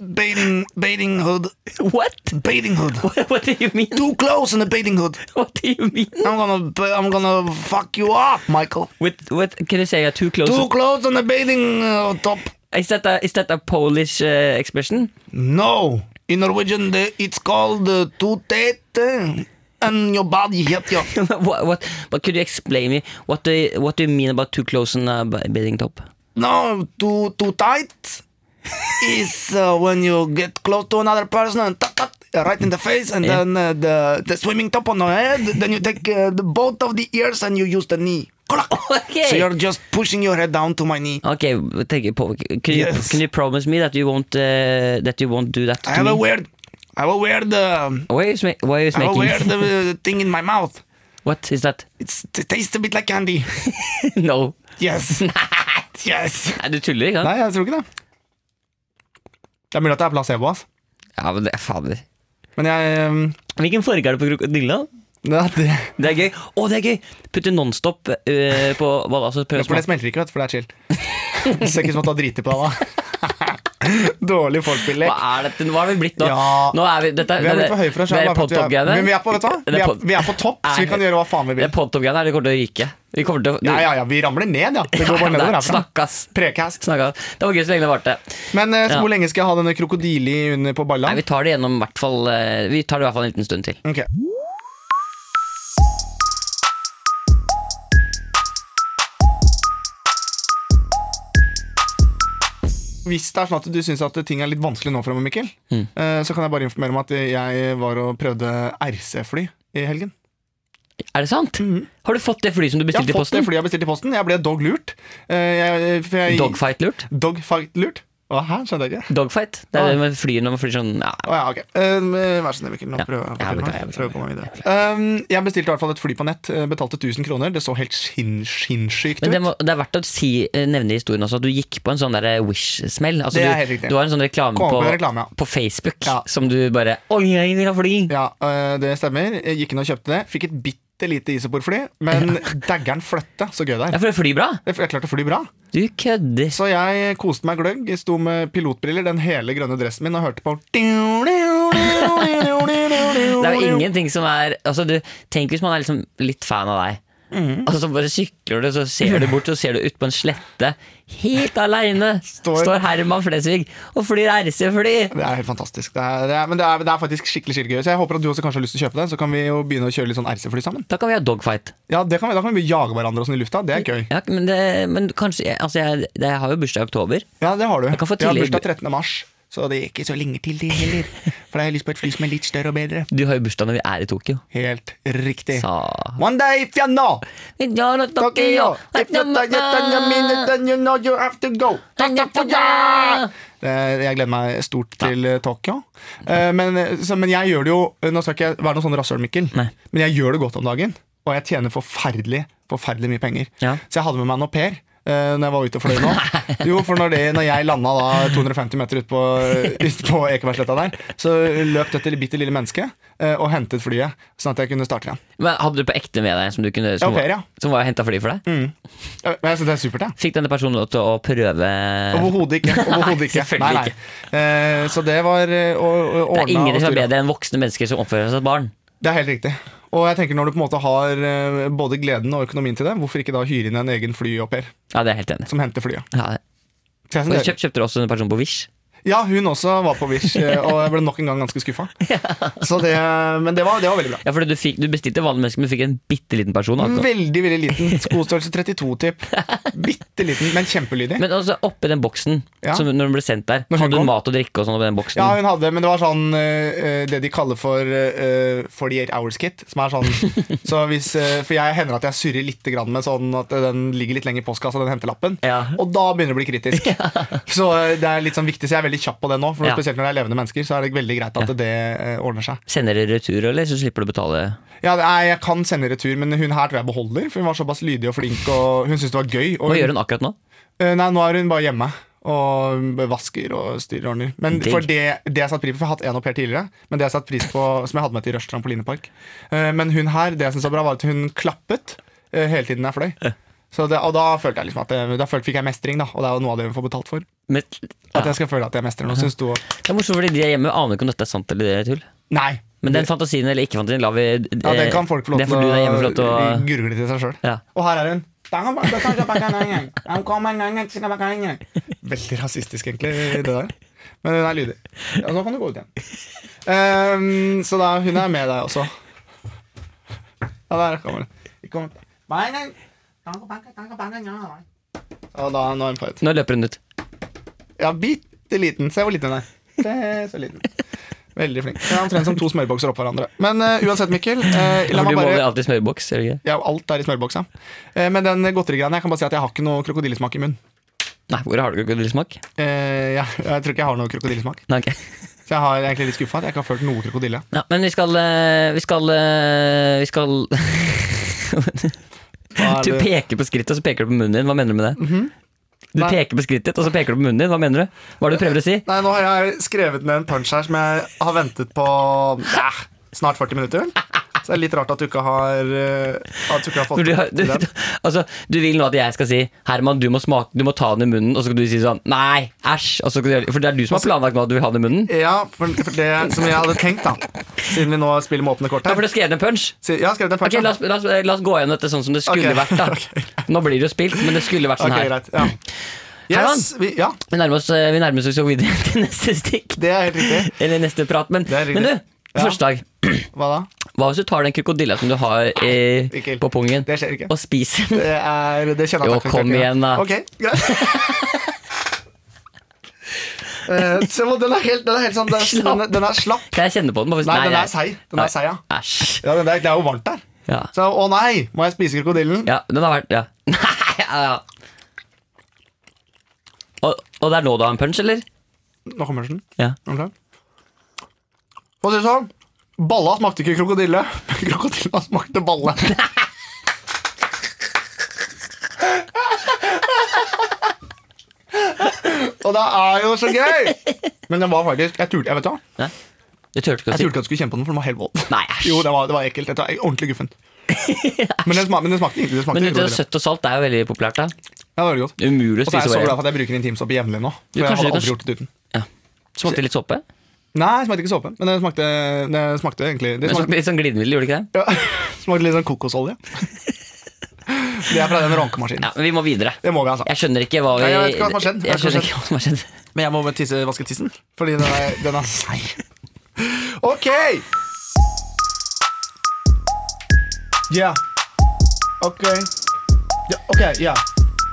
Speaker 2: Baiting, baiting hood.
Speaker 3: What?
Speaker 2: Baiting hood.
Speaker 3: What do you mean?
Speaker 2: Two claws and a baiting hood.
Speaker 3: What do you mean?
Speaker 2: I'm gonna, I'm gonna fuck you up, Michael.
Speaker 3: With, what can you say? You're too close.
Speaker 2: claws and a baiting uh, top.
Speaker 3: Is that a, is that a Polish uh, expression?
Speaker 2: No, in Norwegian the, it's called uh, two tete and your body hit you.
Speaker 3: what, what? But could you explain me what do you, what do you mean about too close on a b- bidding top?
Speaker 2: No, too too tight is uh, when you get close to another person and tap tap uh, right in the face, and
Speaker 3: Yeah.
Speaker 2: then uh, the the swimming top on the head. Then you take uh, the both of the ears and you use the knee.
Speaker 3: Okay.
Speaker 2: So you're just pushing your head down to my knee.
Speaker 3: Okay, take it, Popek. Can you
Speaker 2: Yes.
Speaker 3: can you promise me that you won't uh, that you won't do that?
Speaker 2: I
Speaker 3: to
Speaker 2: have
Speaker 3: me?
Speaker 2: a weird, I have a weird, um,
Speaker 3: Why are you, sma- why are you
Speaker 2: I have a
Speaker 3: making?
Speaker 2: weird uh, thing in my mouth.
Speaker 3: what is that?
Speaker 2: It's, it tastes a bit like candy.
Speaker 3: no.
Speaker 2: Yes. yes.
Speaker 3: Nei, du tuller ikke? sant?
Speaker 2: Nei, jeg tror ikke det. Det er mulig at det er placebo, ass.
Speaker 3: Ja, men det fader.
Speaker 2: Men jeg um,
Speaker 3: Hvilken farge er det på krokodilla?
Speaker 2: det, det,
Speaker 3: Det er gøy. Å, det er gøy! Putte Nonstop eh, på hva da? Så prøv å
Speaker 2: For det
Speaker 3: smake.
Speaker 2: smelter ikke, vet du, for det er chill. Det ser ikke ut som at du har driti på deg, da. Dårlig
Speaker 3: Hva
Speaker 2: vorspiel-lek.
Speaker 3: er dette? Hva har vi blitt nå?
Speaker 2: Ja.
Speaker 3: Nå er vi dette,
Speaker 2: Vi er blitt for høye for oss
Speaker 3: det
Speaker 2: selv.
Speaker 3: er
Speaker 2: bare for at vi er-
Speaker 3: podtop-greiene.
Speaker 2: Men vi er på, vet du hva?
Speaker 3: Det er
Speaker 2: Vi er,
Speaker 3: pod-
Speaker 2: vi er på topp, så vi kan gjøre hva faen vi
Speaker 3: Det
Speaker 2: vil.
Speaker 3: er podtop-greiene her, det kommer til å ryke. Vi kommer til å
Speaker 2: Ja, ja, ja, vi ramler ned, ja. Det går bare nedover herfra.
Speaker 3: Snakkas.
Speaker 2: Precast.
Speaker 3: Snakkas. Det var gøy så lenge det varte.
Speaker 2: Men eh, så
Speaker 3: Ja.
Speaker 2: hvor lenge skal jeg ha denne krokodilli under på balla?
Speaker 3: Nei, vi tar det gjennom i hvert fall eh, Vi tar det i hvert fall en liten stund til.
Speaker 2: Ok. Hvis det er sånn at du syns at ting er litt vanskelig nå fremover, Mikkel,
Speaker 3: Mm.
Speaker 2: eh, så kan jeg bare informere om at jeg var og prøvde RC-fly i helgen.
Speaker 3: Er det sant? Har du fått det flyet som du
Speaker 2: Mhm. Jeg har
Speaker 3: bestilte i
Speaker 2: fått det
Speaker 3: posten?
Speaker 2: flyet jeg bestilte i posten. Jeg ble dog lurt. Eh, jeg- for jeg-
Speaker 3: Dogfight-lurt?
Speaker 2: Dogfight-lurt? Hva, hæ? Skjønte jeg ikke.
Speaker 3: Dogfight? Det
Speaker 2: Ja.
Speaker 3: er det man flyr når man flyr sånn ja.
Speaker 2: Å ja, ok. Um, vær så snill, Mikkel. Nå
Speaker 3: Ja.
Speaker 2: prøver jeg å
Speaker 3: Ja,
Speaker 2: fortelle
Speaker 3: beklager,
Speaker 2: meg.
Speaker 3: beklager,
Speaker 2: Prøver å komme meg videre. Um, jeg bestilte i hvert fall et fly på nett. eh, Betalte 1000 kroner. Det så helt skinn- sinnssykt
Speaker 3: Men det,
Speaker 2: ut.
Speaker 3: må, det er verdt å si, eh, nevne i historien også at du gikk på en sånn der Wish-smell. Altså,
Speaker 2: Det er
Speaker 3: du-
Speaker 2: helt riktig.
Speaker 3: Du har en sånn reklame
Speaker 2: Kom
Speaker 3: på,
Speaker 2: på en reklame, ja.
Speaker 3: på Facebook
Speaker 2: Ja.
Speaker 3: som du bare Oi, jeg vil ha fly!
Speaker 2: Ja, eh, det stemmer. Jeg gikk inn og kjøpte det. Fikk et bitte lite isopor-fly, men daggeren fløtte. Så gøy det
Speaker 3: Ja,
Speaker 2: er.
Speaker 3: for det flyr bra!
Speaker 2: Jeg jeg klarte å fly bra.
Speaker 3: Du kødder.
Speaker 2: Så jeg koste meg gløgg. Sto med pilotbriller, den hele grønne dressen min, og hørte på Det er
Speaker 3: Det er jo ingenting som er altså, du, Tenk hvis man er liksom litt fan av deg.
Speaker 2: Mm.
Speaker 3: Og så bare sykler du, så ser du bort, så ser du ut på en slette. Helt aleine står,
Speaker 2: Står-
Speaker 3: Herman Flesvig og flyr RC-fly!
Speaker 2: Det er helt fantastisk. Det er, det er, men det er, det er faktisk skikkelig skikkelig gøy. Så jeg håper at du også kanskje har lyst til å kjøpe den. Så kan vi jo begynne å kjøre litt sånn RC-fly sammen.
Speaker 3: Da kan vi ha dogfight.
Speaker 2: Ja, det kan vi, Da kan vi jage hverandre og sånn i lufta. Det er gøy.
Speaker 3: Ja, men, det, men kanskje jeg- altså, jeg, jeg har jo bursdag i oktober.
Speaker 2: Ja, det har du.
Speaker 3: kan få
Speaker 2: Jeg har
Speaker 3: tidlig-
Speaker 2: bursdag 13. mars, så det er ikke så lenge til det heller. For da har jeg lyst på et fly som er litt større og bedre.
Speaker 3: Du har jo bursdag når vi er i Tokyo.
Speaker 2: Helt riktig.
Speaker 3: Sa
Speaker 2: One day if you know Tokyo, if you know you mean it, then you know you have to go. Tokyo! Eh, Jeg gleder meg stort til eh, Tokyo. Eh, Men, så, men jeg gjør det jo Nå skal ikke jeg være noen sånn rasshøl, Mikkel,
Speaker 3: Nei.
Speaker 2: men jeg gjør det godt om dagen. Og jeg tjener forferdelig forferdelig mye penger.
Speaker 3: Ja.
Speaker 2: Så jeg hadde med meg en au pair. eh, Når jeg var ute og fløy nå. Jo, for når, det, når jeg landa da 250 meter ut på, ut på Ekebergsletta der, så løp dette bitte lille mennesket eh, og hentet flyet, sånn at jeg kunne starte igjen.
Speaker 3: Men Hadde du på ekte med deg som du kunne Som,
Speaker 2: Au pair, ja.
Speaker 3: som var henta fly for deg?
Speaker 2: Eh, Men jeg synes det er supert, jeg.
Speaker 3: Fikk denne personen lov til å prøve
Speaker 2: Overhodet ikke. Overhodet ikke.
Speaker 3: selvfølgelig
Speaker 2: nei, nei. Eh, så det var eh, å- å-
Speaker 3: Det
Speaker 2: ordna
Speaker 3: er ingen
Speaker 2: og
Speaker 3: som er
Speaker 2: styra.
Speaker 3: bedre enn voksne mennesker som oppfører seg som barn.
Speaker 2: Det er helt riktig. Og jeg tenker når du på en måte har eh, både gleden og økonomien til det, hvorfor ikke da hyre inn en egen flyauppair
Speaker 3: Ja, det er jeg helt enig. i.
Speaker 2: som henter flyet?
Speaker 3: Ja.
Speaker 2: Så jeg
Speaker 3: Og
Speaker 2: synes det-
Speaker 3: kjøp, kjøpte du også en person på Wish?
Speaker 2: Ja, hun også var på Wish, eh, og jeg ble nok en gang ganske skuffa. Men det var, det var veldig bra.
Speaker 3: Ja, fordi du, fikk, du bestilte vanlig menneske, men du fikk en bitte liten person. Altså.
Speaker 2: Veldig veldig liten. Skostørrelse 32-tipp. Bitte liten, men kjempelydig.
Speaker 3: Men altså, oppi den boksen,
Speaker 2: Ja.
Speaker 3: som, når den ble sendt der,
Speaker 2: Når hun
Speaker 3: hadde
Speaker 2: kom?
Speaker 3: du mat og drikke og sånn oppi den boksen?
Speaker 2: Ja, hun hadde, men det var sånn eh, eh, det de kaller for eh, 48 hours kit. Som er sånn så hvis, eh, For jeg hender at jeg surrer litt grann med sånn at den ligger litt lenger i postkassa, den hentelappen.
Speaker 3: Ja.
Speaker 2: Og da begynner det å bli kritisk. Så eh, det er litt sånn viktig, så jeg er veldig kjapp på det nå. For
Speaker 3: Ja.
Speaker 2: Spesielt når det er levende mennesker, så er det veldig greit at det eh, ordner seg.
Speaker 3: Sender dere retur, eller så slipper du å betale?
Speaker 2: Ja, det er, Jeg kan sende retur, men hun her tror jeg beholder. For hun var såpass lydig og flink, og hun syntes det var gøy. Og
Speaker 3: Hva
Speaker 2: hun,
Speaker 3: gjør hun akkurat nå?
Speaker 2: Eh, Nei, nå er hun bare hjemme og vasker og styrer og ordner. Men
Speaker 3: Digg.
Speaker 2: for det, det jeg satt pris på, for jeg har hatt en au pair tidligere, men det jeg satt pris på, som jeg hadde med til Rush trampolinepark Eh, Men hun her, det jeg syntes var bra, var at hun klappet eh, hele tiden jeg fløy. Så det, og da følte jeg liksom at det, Da følte, fikk jeg mestring, da. Og det er jo noe av det hun får betalt for.
Speaker 3: Men, ja.
Speaker 2: At jeg skal føle at jeg mestrer noe. Syns du òg?
Speaker 3: Det er morsomt, fordi de er hjemme aner ikke om dette er sant eller det er tull.
Speaker 2: Nei.
Speaker 3: Men den fantasien eller ikke fantasien, la vi
Speaker 2: Ja, den kan folk få lov
Speaker 3: Eh, Det
Speaker 2: til
Speaker 3: får du der hjemme få lov til
Speaker 2: å
Speaker 3: å
Speaker 2: gurgle til seg sjøl.
Speaker 3: Ja.
Speaker 2: Og her er hun. Veldig rasistisk, egentlig, det der. Men hun er lydig. Ja, nå kan du gå ut igjen. Ehm, så da, hun er med deg også. Ja, der kommer hun. Og da, nå er hun på et
Speaker 3: Nå løper hun ut.
Speaker 2: Ja, bitte liten. Se hvor liten hun er. Se så liten. Veldig flink. Det er omtrent som to smørbokser oppå hverandre. Men eh, uansett, Mikkel. eh, la
Speaker 3: For
Speaker 2: meg
Speaker 3: du må
Speaker 2: bare
Speaker 3: vel alltid smørboks? gjør du ikke?
Speaker 2: ja, alt er i smørboksa. Eh, Men den godterigreiene, jeg kan bare si at jeg har ikke noe krokodillesmak i munnen.
Speaker 3: Nei, hvor har du krokodillesmak?
Speaker 2: Eh, jeg, jeg tror ikke jeg har noe krokodillesmak.
Speaker 3: Nei, ok.
Speaker 2: Så jeg har egentlig litt skuffa at jeg ikke har følt noe krokodille.
Speaker 3: Ja, men vi skal eh, Vi skal eh, Vi skal
Speaker 2: Hva er
Speaker 3: Du
Speaker 2: det-
Speaker 3: peker på skrittet, og så peker du på munnen din. Hva mener du med det?
Speaker 2: Mhm.
Speaker 3: Du
Speaker 2: Nei.
Speaker 3: peker på skrittet, og så peker du på munnen din. Hva mener du? Hva er det du prøver å si?
Speaker 2: Nei, nå har jeg skrevet ned en punch her som jeg har ventet på ja, snart 40 minutter. Så det er litt rart at du ikke har, eh, at du ikke har fått
Speaker 3: Når du, har- du,
Speaker 2: til
Speaker 3: du,
Speaker 2: den.
Speaker 3: altså, du vil nå at jeg skal si Herman, du må, smake, du må ta den i munnen, og så skal du si sånn Nei, æsj! Og så skal du, gjøre- for det er du som har planlagt nå at du vil ha den i munnen?
Speaker 2: Ja, for, for det som jeg hadde tenkt, da. Siden vi nå spiller med åpne kort
Speaker 3: Ja, for
Speaker 2: her.
Speaker 3: du har skrevet en punch?
Speaker 2: Så jeg har skrevet en punch.
Speaker 3: Ok,
Speaker 2: ja.
Speaker 3: la oss, la oss, la oss gå gjennom dette sånn som det skulle
Speaker 2: Ok,
Speaker 3: vært. da
Speaker 2: ok.
Speaker 3: Nå blir det jo spilt, men det skulle vært sånn
Speaker 2: Ok,
Speaker 3: her.
Speaker 2: greit. Ja. Yes, vi, ja,
Speaker 3: Vi nærmer oss, eh, vi nærmer oss jo videre til neste stikk.
Speaker 2: det er helt riktig.
Speaker 3: Eller neste prat. Men,
Speaker 2: Det er riktig.
Speaker 3: men du,
Speaker 2: Ja.
Speaker 3: første dag.
Speaker 2: Hva da?
Speaker 3: Hva hvis du tar den krokodilla som du har eh,
Speaker 2: Mikkel,
Speaker 3: på pungen,
Speaker 2: det skjer ikke.
Speaker 3: og spiser den?
Speaker 2: Det er Det kjenner jeg
Speaker 3: Jo,
Speaker 2: at jeg kan
Speaker 3: kom
Speaker 2: klare.
Speaker 3: igjen da.
Speaker 2: Ok, greit. Eh, se hvor den er helt, den er helt sånn den, er- den, er- den er slapp.
Speaker 3: Kan jeg kjenne på den? Bare,
Speaker 2: Nei, den
Speaker 3: nei.
Speaker 2: er seig. Den er seig, ja.
Speaker 3: Æsj.
Speaker 2: ja men det, er, det er jo varmt der.
Speaker 3: Ja.
Speaker 2: Så å nei, må jeg spise krokodillen?
Speaker 3: ja, den har vært Ja. Nei, ja, ja. Og, og det er nå du har en punch, eller?
Speaker 2: Nå kommer den.
Speaker 3: Ja.
Speaker 2: Ok. For å si det sånn, balla smakte ikke krokodille. Krokodilla smakte balle. Og det er jo så gøy! Men den var faktisk Jeg turte jeg vet du hva?
Speaker 3: Nei. Du turte ikke å
Speaker 2: Jeg
Speaker 3: si
Speaker 2: turte ikke at du skulle kjenne på den, for den var helt våt.
Speaker 3: Nei, æsj.
Speaker 2: Jo, det var, det var ekkelt. Dette var ordentlig guffen. Men den smakte, men den smakte, det smakte
Speaker 3: Men du, vet,
Speaker 2: krokodille.
Speaker 3: søtt og salt er jo veldig populært, da.
Speaker 2: Ja, det var veldig godt.
Speaker 3: Umulig å
Speaker 2: Og så er jeg
Speaker 3: spise
Speaker 2: så glad
Speaker 3: over.
Speaker 2: for at jeg bruker intimsopp jevnlig nå.
Speaker 3: Du,
Speaker 2: For jeg
Speaker 3: kanskje
Speaker 2: hadde
Speaker 3: du
Speaker 2: aldri
Speaker 3: kan-
Speaker 2: gjort det uten.
Speaker 3: Ja. Smakte litt såpe.
Speaker 2: Nei, det smakte ikke såpe, men det smakte, det smakte egentlig det
Speaker 3: Men
Speaker 2: smakte,
Speaker 3: smakte litt sånn glidemiddel, gjorde det ikke det?
Speaker 2: ja, smakte litt sånn kokosolje. Det er fra den rankemaskinen.
Speaker 3: Ja, men Vi må videre.
Speaker 2: Det må vi, altså.
Speaker 3: Jeg skjønner ikke hva vi
Speaker 2: Nei, jeg vet ikke hva som har skjedd.
Speaker 3: Jeg skjønner
Speaker 2: Jeg
Speaker 3: ikke hva som har skjedd.
Speaker 2: Men jeg må bare tisse, vaske tissen, fordi den er, den er seig. Ok! Ja. Ok. Ja, ok, ja. Yeah.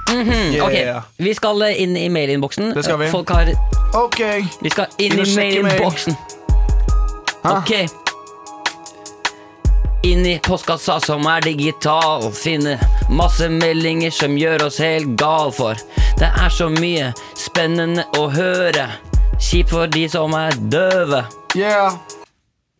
Speaker 3: Mhm, Mm, Ok, Vi skal eh, inn i mailinnboksen.
Speaker 2: Det skal vi.
Speaker 3: Folk har
Speaker 2: Ok.
Speaker 3: Vi skal
Speaker 2: Inn
Speaker 3: inn i
Speaker 2: og sjekke
Speaker 3: mailinnboksen.
Speaker 2: Hæ?
Speaker 3: Ok. Inn i postkassa som er digital. Finne masse meldinger som gjør oss helt gal for. Det er så mye spennende å høre. Kjipt for de som er døve.
Speaker 2: Yeah.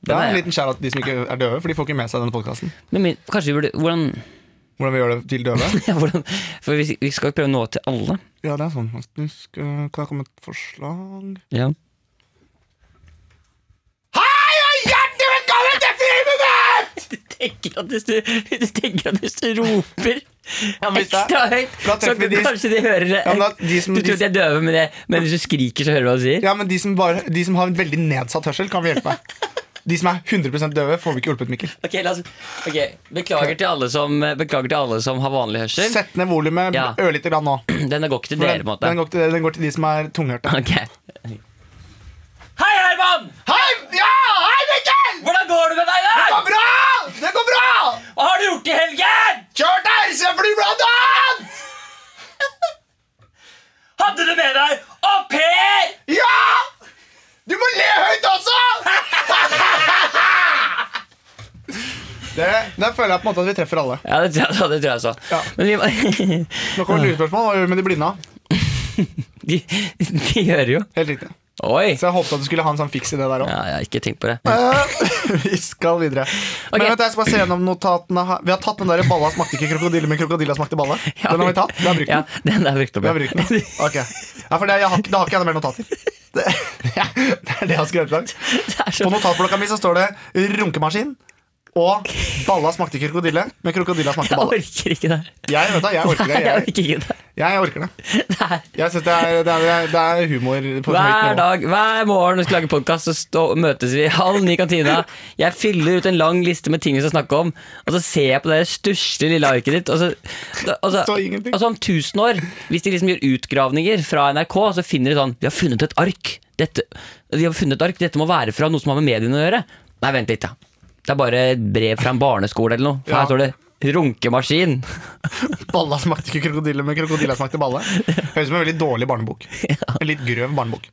Speaker 2: Det
Speaker 3: Den
Speaker 2: er
Speaker 3: er-
Speaker 2: en liten skjær at de som ikke er døve, for de får ikke med seg denne podkasten.
Speaker 3: Men min, kanskje vi burde Hvordan,
Speaker 2: Hvordan vi gjør det til døve?
Speaker 3: hvordan For vi, vi skal jo prøve å nå til alle.
Speaker 2: Ja, det er sånn faktisk. Eh, Kan jeg komme med et forslag?
Speaker 3: Ja.
Speaker 2: Hei og hjertelig velkommen til Friminutt!
Speaker 3: Du tenker at hvis du, du, tenker at hvis du roper
Speaker 2: Ja, men hvis det er-
Speaker 3: ekstra høyt,
Speaker 2: Da
Speaker 3: så
Speaker 2: treffer vi de-
Speaker 3: kanskje de hører det.
Speaker 2: Ja, men da- de som-
Speaker 3: du tror
Speaker 2: de-
Speaker 3: at de er døve, men, det, men hvis du skriker, så hører du hva du sier.
Speaker 2: Ja, men de som, bare, de som har en veldig nedsatt hørsel, kan vi hjelpe med. De som er 100 døve, får vi ikke hjulpet, Mikkel.
Speaker 3: Ok, la oss, ok, beklager, til alle som, beklager til alle som har vanlig hørsel.
Speaker 2: Sett ned volumet
Speaker 3: Ja.
Speaker 2: ørlite grann nå.
Speaker 3: Denne går ikke til dere,
Speaker 2: Den,
Speaker 3: på en
Speaker 2: den,
Speaker 3: måte.
Speaker 2: går til, den går til de som er tunghørte.
Speaker 3: Ok. Hei, Herman!
Speaker 2: Hei! Ja, hei, Mikkel!
Speaker 3: Hvordan går det med deg i
Speaker 2: Det går
Speaker 3: dag?
Speaker 2: bra! Det går bra!
Speaker 3: Hva har du gjort i helgen?
Speaker 2: Kjørt RC-fly, blant annet!
Speaker 3: Hadde du med deg au pair?
Speaker 2: Ja! Du må le høyt også! Det, der føler jeg på en måte at vi treffer alle.
Speaker 3: Ja, det tror jeg, det tror jeg så.
Speaker 2: Ja.
Speaker 3: Men vi, må-
Speaker 2: Nå kommer lurespørsmål. Hva gjør vi med de blinde?
Speaker 3: de, de hører jo.
Speaker 2: Helt riktig.
Speaker 3: Oi!
Speaker 2: Så jeg håpet at du skulle ha en sånn fiks i det der òg.
Speaker 3: Ja, jeg har ikke tenkt på det.
Speaker 2: Vi skal videre.
Speaker 3: Ok.
Speaker 2: Men vent, jeg skal bare se gjennom notatene her. Vi har tatt den der 'balla smakte ikke krokodille, men krokodilla smakte balle'.
Speaker 3: Ja,
Speaker 2: Den har vi tatt. Vi har brukt
Speaker 3: Ja,
Speaker 2: den.
Speaker 3: den er brukt opp.
Speaker 2: Vi
Speaker 3: ja.
Speaker 2: har brukt den. Ok. Ja, for det, jeg har, ikke- da har ikke jeg noe mer notater. Det, det er det jeg har skrevet langt.
Speaker 3: Det er
Speaker 2: På
Speaker 3: så,
Speaker 2: notatblokka mi så står det 'runkemaskin' og 'balla smakte ikke krokodille, men krokodilla smakte
Speaker 3: jeg
Speaker 2: balle'.
Speaker 3: orker ikke det.
Speaker 2: Jeg, vet da, jeg orker det.
Speaker 3: Nei, jeg
Speaker 2: Jeg,
Speaker 3: orker ikke det.
Speaker 2: jeg orker det.
Speaker 3: det er,
Speaker 2: Jeg synes det, er, det, er, det er humor på et høyt nivå.
Speaker 3: hver dag, hver morgen når vi skal lage podkast, så stå, møtes vi halv ni i kantina. Jeg fyller ut en lang liste med ting vi skal snakke om, og så ser jeg på det stusslige lille arket ditt. Og så, og så,
Speaker 2: Står ingenting.
Speaker 3: og så om 1000 år, hvis de liksom gjør utgravninger fra NRK, så finner de sånn Vi har funnet et ark. Dette, de har funnet et ark. Dette må være fra noe som har med mediene å gjøre. Nei, vent litt, da. Det er bare et brev fra en barneskole eller noe. For
Speaker 2: Ja.
Speaker 3: Her står det 'runkemaskin'.
Speaker 2: Balla smakte ikke krokodille, men krokodilla smakte balle. Høres ut som en veldig dårlig barnebok. En litt grøv barnebok.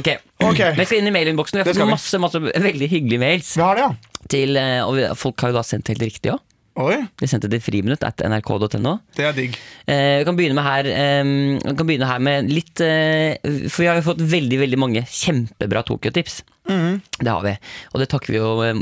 Speaker 3: Ok,
Speaker 2: Ok.
Speaker 3: Vi skal inn i mailinnboksen. Vi har
Speaker 2: Det skal
Speaker 3: fått
Speaker 2: vi.
Speaker 3: masse, masse veldig hyggelige mails.
Speaker 2: Vi har det, ja.
Speaker 3: til, eh, og vi- folk har jo da sendt helt riktig òg.
Speaker 2: Oi,
Speaker 3: De sendte til friminutt at nrk.no.
Speaker 2: det er digg.
Speaker 3: Eh, vi kan begynne med her eh, vi kan begynne her med litt eh, For vi har jo fått veldig veldig mange kjempebra Tokyo-tips.
Speaker 2: Mm.
Speaker 3: Det har vi. Og det takker vi jo eh,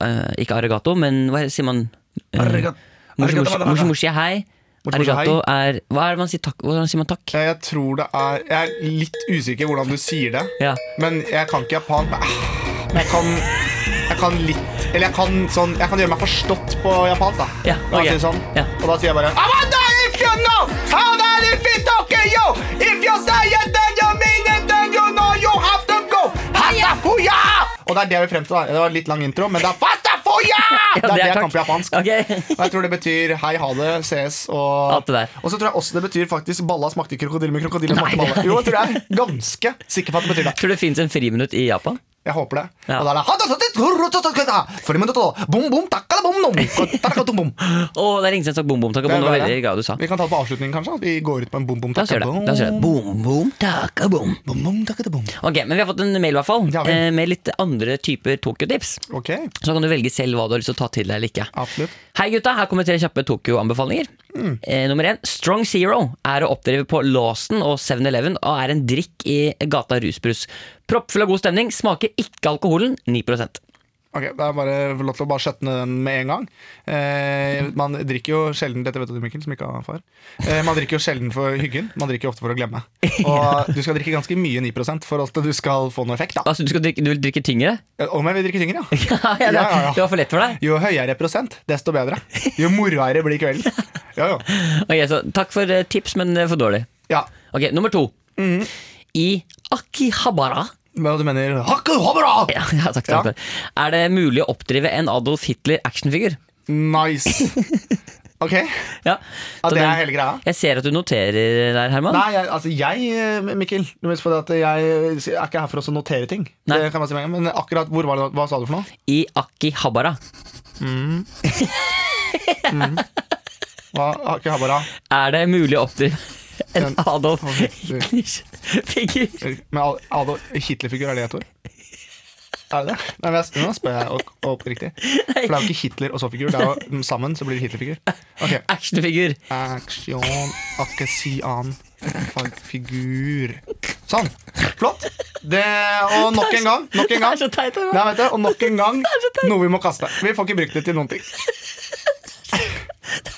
Speaker 3: eh, Ikke arigato, men hva sier man? Eh,
Speaker 2: Arigato.
Speaker 3: moshi-
Speaker 2: Arigato, arigato.
Speaker 3: moshi- moshi er hei.
Speaker 2: Moshi- moshi
Speaker 3: Arigato er Hva er det man sier takk? Hvordan sier man takk?
Speaker 2: Jeg tror det er Jeg er litt usikker hvordan du sier det,
Speaker 3: Ja.
Speaker 2: men jeg kan ikke japansk. Men ah, Jeg kan, jeg kan litt Eller jeg kan, sånn, jeg kan gjøre meg forstått på japansk, da.
Speaker 3: Ja,
Speaker 2: Da
Speaker 3: ok.
Speaker 2: sier jeg sånn.
Speaker 3: Ja.
Speaker 2: Og da sier jeg bare Amanda, if you know how that if you talk yo, if you say it, then you mean it, then you know you have to go. Hasta fuya! Og det er det vi er frem til. da Det var litt lang intro, men det er fasta fuya! Det er det jeg kan på japansk. Og
Speaker 3: Ok.
Speaker 2: jeg tror det betyr hei, ha det, ses og
Speaker 3: Alt det der.
Speaker 2: Og så tror jeg også det betyr faktisk balla smakte krokodille med krokodille
Speaker 3: Nei,
Speaker 2: smakte balle.
Speaker 3: nei.
Speaker 2: Jo, jeg tror jeg er ganske sikker på at det betyr det.
Speaker 3: Tror du det fins en friminutt i Japan?
Speaker 2: Jeg håper det.
Speaker 3: Ja.
Speaker 2: Og da er det «Hadasotitsurutototota, forimutoto, bom, bom, takkalabonom, kotarakatum-bom».
Speaker 3: Å, det er Ringstein som sa bom, bom, takk. og
Speaker 2: Det
Speaker 3: bom.
Speaker 2: er
Speaker 3: Det var
Speaker 2: bare det.
Speaker 3: veldig glad du sa.
Speaker 2: Vi kan ta det på avslutningen, kanskje? At vi går ut på en bom, bom,
Speaker 3: La oss gjøre det.
Speaker 2: takkabom.
Speaker 3: La oss gjøre det. Boom, boom, taka, boom.
Speaker 2: Bom, bom, takkabom.
Speaker 3: Ok, men vi har fått en mail i hvert fall,
Speaker 2: Ja vel.
Speaker 3: eh, med litt andre typer Tokyo-tips.
Speaker 2: Ok,
Speaker 3: Så kan du velge selv hva du har lyst til å ta til deg eller ikke.
Speaker 2: absolutt.
Speaker 3: Hei gutta, her kommer tre kjappe Tokyo-anbefalinger. Eh, nummer én, Strong Zero er å oppdrive på Lawson og 7-Eleven og er en drikk i gata rusbrus. Proppfull av god stemning, smaker ikke alkoholen, 9
Speaker 2: Ok, Det er bare lov til å bare skjøtte ned den med en gang. Eh, man drikker jo sjelden Dette vet du, Mikkel, som ikke har far. Eh, man drikker jo sjelden for hyggen, man drikker jo ofte for å glemme. Og du skal drikke ganske mye 9 for at du skal få noe effekt. da Eh,
Speaker 3: Altså, du, skal drikke, du vil drikke tyngre?
Speaker 2: Om jeg vil drikke tyngre, ja.
Speaker 3: ja, det,
Speaker 2: Ja, ja, ja.
Speaker 3: det var for lett for deg.
Speaker 2: Jo høyere prosent, desto bedre. Jo moroere blir kvelden. Ja, jo.
Speaker 3: Ok, så Takk for eh, tips, men eh, for dårlig.
Speaker 2: Ja.
Speaker 3: Ok, Nummer to. I Akihabara
Speaker 2: Men du mener Hakke hobra!
Speaker 3: Ja, jeg har sagt det.
Speaker 2: Ja.
Speaker 3: før. Er det mulig å oppdrive en Adolf Hitler actionfigur?
Speaker 2: Nice. Ok.
Speaker 3: Ja,
Speaker 2: Ja,
Speaker 3: så
Speaker 2: det
Speaker 3: den-
Speaker 2: er hele greia.
Speaker 3: Jeg ser at du noterer der, Herman.
Speaker 2: Nei, jeg, altså jeg, Mikkel Du må huske på det at jeg er ikke her for å notere ting.
Speaker 3: Nei.
Speaker 2: Det kan man si med en gang, Men akkurat hvor var det, hva sa du for noe?
Speaker 3: I Akihabara
Speaker 2: Hva, Hakke hobra?
Speaker 3: er det mulig å oppdrive en
Speaker 2: Den-
Speaker 3: Adolf
Speaker 2: Ok, du-
Speaker 3: Hitler-figur?
Speaker 2: Men Ad- Adolf Hitler-figur, er det et ord? Er det det? Nei, men jeg, nå spør jeg opp, opp riktig. For det er jo ikke Hitler og så figur. Det er jo, mm, sammen så blir det Hitler-figur. Ok.
Speaker 3: Actionfigur.
Speaker 2: Action, akkesian, figur Sånn. Flott. Det, og nok en gang. Nok en
Speaker 3: Det er
Speaker 2: gang.
Speaker 3: så teit. Herman.
Speaker 2: Nei, vet du, og nok en gang noe vi må kaste. Vi får ikke brukt det til noen ting.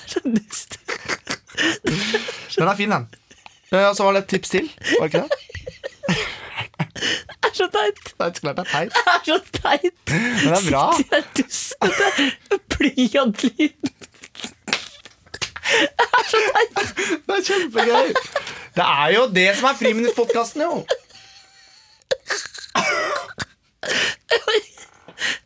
Speaker 3: Så dust.
Speaker 2: Den er fin, den. Eh, Og så var det et tips til. Var det ikke det?
Speaker 3: Det er så teit.
Speaker 2: Det er klart det er teit,
Speaker 3: Det er så teit.
Speaker 2: men det er bra.
Speaker 3: Det er dustete blyantlyd.
Speaker 2: Det er kjempegøy. Det er jo det som er Friminutt-podkasten, jo.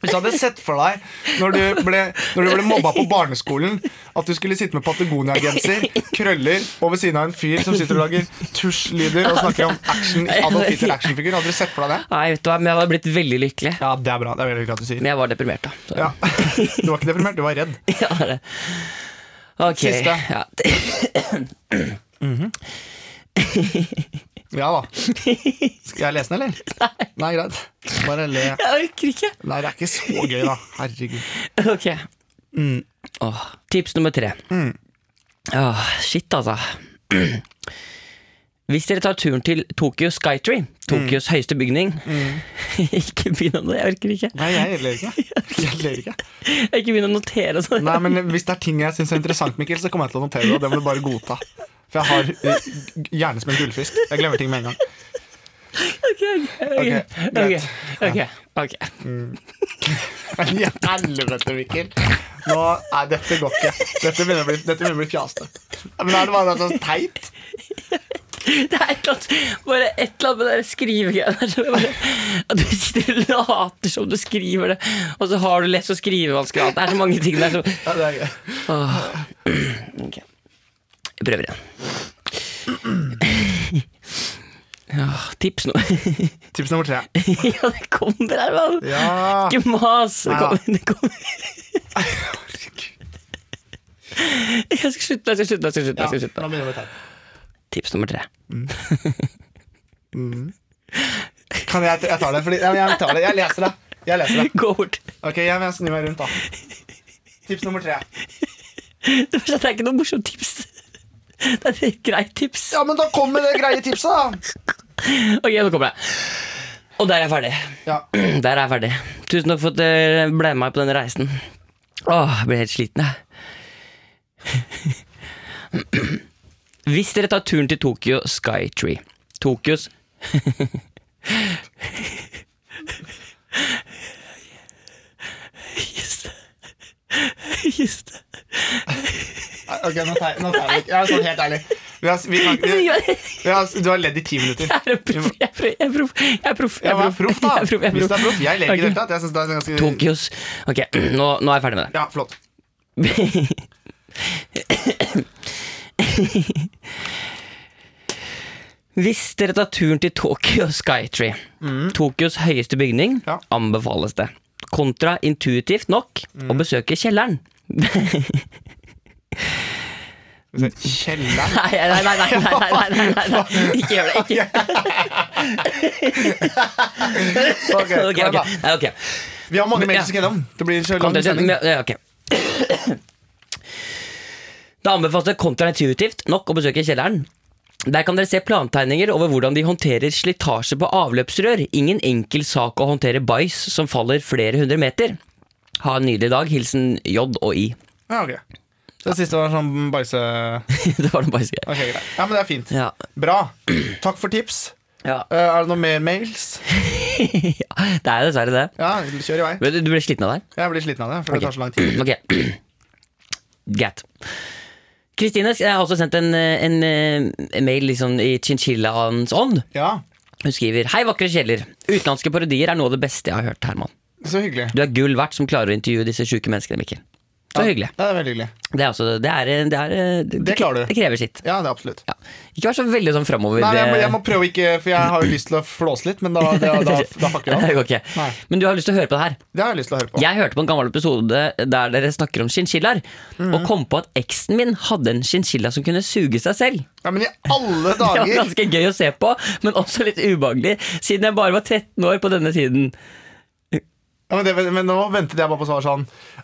Speaker 2: Hvis du hadde sett for deg når du ble, når du ble mobba på barneskolen At du skulle sitte med Patagonia-genser, krøller, og ved siden av en fyr som sitter og lager tusjlyder og snakker om action, Adolf Hitler actionfigur. Hadde du sett for deg det?
Speaker 3: Nei, vet du hva, men jeg hadde blitt veldig lykkelig.
Speaker 2: Ja, det er bra. Det er veldig hyggelig at du sier.
Speaker 3: Men jeg var deprimert, da. Så.
Speaker 2: Ja. Du var ikke deprimert, du var redd.
Speaker 3: Ja, det er det. Ok.
Speaker 2: Siste.
Speaker 3: Ja.
Speaker 2: Ja da. Skal jeg lese den, eller? Nei. Nei, greit. Bare le.
Speaker 3: Jeg orker ikke.
Speaker 2: Nei, det er ikke så gøy, da. Herregud.
Speaker 3: Ok.
Speaker 2: Mm.
Speaker 3: Åh. Tips nummer tre. Åh, shit, altså. Hvis dere tar turen til Tokyo Skytree,
Speaker 2: Mm.
Speaker 3: Tokyos høyeste bygning Ikke begynn om det, jeg orker ikke.
Speaker 2: Nei, jeg ler ikke. Jeg ler ikke.
Speaker 3: Ikke begynn å notere og sånn.
Speaker 2: Nei, men Hvis det er ting jeg syns er interessant, Mikkel, så kommer jeg til å notere det. Og det må du bare godta. For jeg har eh, g- hjerne som en gullfisk. Jeg glemmer ting med en gang.
Speaker 3: Ok, ok,
Speaker 2: Ok,
Speaker 3: ok.
Speaker 2: greit.
Speaker 3: ok, ok.
Speaker 2: Men i helvete, Mikkel. Nå, nei, dette går ikke. Dette begynner å bli, dette begynner å bli fjaste. Men er det bare noe sånn teit?
Speaker 3: Det er et eller annet, bare et eller annet med det der skrivegreiene der. som jeg bare- At du sitter og later som du skriver det, og så har du lest og skrivevansker og alt. Det er så mange ting der som
Speaker 2: Ja, det er gøy.
Speaker 3: Ok. Jeg prøver igjen. Ja, tips nå.
Speaker 2: Tips nummer tre.
Speaker 3: ja, det kommer her, mann.
Speaker 2: Ja.
Speaker 3: Ikke mas. Det
Speaker 2: Nei da.
Speaker 3: kommer, det kommer. Jeg skal slutte, jeg skal slutte, jeg skal
Speaker 2: Ja,
Speaker 3: slutte. Jeg skal slutte.
Speaker 2: nå begynner det å bli teit.
Speaker 3: Tips nummer tre.
Speaker 2: Kan jeg, jeg tar det, fordi, ja, men jeg tar det. Jeg leser det. Jeg leser det.
Speaker 3: Gå bort.
Speaker 2: Ok, jeg, jeg snur meg rundt, da. Tips nummer tre.
Speaker 3: Det er ikke noe morsomt tips. Det er et greit tips.
Speaker 2: Ja, men da kom med det greie tipset, da.
Speaker 3: Ok, nå kommer jeg. Og der er jeg ferdig.
Speaker 2: Ja.
Speaker 3: Der er jeg ferdig. Tusen takk for at dere ble med meg på denne reisen. Åh, jeg ble helt sliten, jeg. Hvis dere tar turen til Tokyo Skytree Tokyos Just. Just.
Speaker 2: Ok, nå tar jeg nå tar jeg det. Jeg er sånn helt ærlig. Vi har, vi, kan- vi,
Speaker 3: Jeg
Speaker 2: vi har, du har ledd i ti minutter.
Speaker 3: er en proff. Jeg er proff. Jeg er proff. Jeg er proff.
Speaker 2: Ja, vær proff, da.
Speaker 3: Jeg er proff. Jeg er
Speaker 2: Hvis det er proff. Jeg ler ikke i det
Speaker 3: Ok.
Speaker 2: hele tatt. Jeg synes det er ganske
Speaker 3: Tokyos Ok, nå, nå er jeg ferdig med det.
Speaker 2: Ja, flott.
Speaker 3: Hvis dere tar turen til Tokyo Skytree, Tokyos høyeste bygning,
Speaker 2: Mm. Ja.
Speaker 3: anbefales det. Kontraintuitivt nok
Speaker 2: Mm.
Speaker 3: å besøke kjelleren.
Speaker 2: Kjelleren.
Speaker 3: Nei, nei, nei, nei, nei, nei, nei, nei, nei, nei. ikke gjør det. Ikke.
Speaker 2: Ok, kom
Speaker 3: Ok,
Speaker 2: igjen,
Speaker 3: ok.
Speaker 2: da.
Speaker 3: Nei, ok.
Speaker 2: Vi har mange
Speaker 3: Men,
Speaker 2: mail
Speaker 3: ja.
Speaker 2: som skal gjennom. Det blir så lang
Speaker 3: Kontra-
Speaker 2: sending.
Speaker 3: men- ja, ok. Det anbefales det kontraintuitivt nok å besøke kjelleren. Der kan dere se plantegninger over hvordan de håndterer slitasje på avløpsrør. Ingen enkel sak å håndtere bæsj som faller flere hundre meter. Ha en nydelig dag. Hilsen J og I.
Speaker 2: Ja, ok. Så det siste var sånn bæsje...
Speaker 3: det var noe bæsjgreier.
Speaker 2: Ok, greit. Ja, men det er fint.
Speaker 3: Ja.
Speaker 2: Bra. Takk for tips.
Speaker 3: Ja.
Speaker 2: Eh, er det noe mer mails?
Speaker 3: Det er dessverre det.
Speaker 2: Ja, kjør i vei.
Speaker 3: Men Du du ble sliten av det? her?
Speaker 2: Jeg blir sliten av det, for det tar så lang tid.
Speaker 3: Ok. Greit. Kristine jeg har også sendt en, eh, en, eh, en mail liksom i chinchillaens ånd.
Speaker 2: Ja,
Speaker 3: Hun skriver Hei, vakre kjeller. Utenlandske parodier er noe av det beste jeg har hørt, Herman.
Speaker 2: så hyggelig.
Speaker 3: Du er gull verdt som klarer å intervjue disse sjuke menneskene, Mikkel. Så hyggelig.
Speaker 2: Ja, det er veldig hyggelig.
Speaker 3: Det er altså Det er Det, er, det,
Speaker 2: Det klarer du.
Speaker 3: Det krever sitt.
Speaker 2: Ja, det er absolutt.
Speaker 3: Ja. Ikke vær så veldig sånn framover.
Speaker 2: Nei, jeg, må- jeg må prøve å ikke, for jeg har jo lyst til å flåse litt, men da, da, da, da fucker
Speaker 3: det
Speaker 2: jeg opp.
Speaker 3: går ikke.
Speaker 2: Nei.
Speaker 3: eh, Men du har lyst til å høre på det her.
Speaker 2: Det har jeg lyst til å høre på.
Speaker 3: Jeg hørte på en gammel episode der dere snakker om chinchillaer,
Speaker 2: Mm.
Speaker 3: og kom på at eksen min hadde en chinchilla som kunne suge seg selv.
Speaker 2: Ja, men i alle
Speaker 3: Det var
Speaker 2: dager!
Speaker 3: ganske gøy å se på, men også litt ubehagelig, siden jeg bare var 13 år på denne tiden.
Speaker 2: Ja, men, det, men nå ventet jeg bare på svar sånn.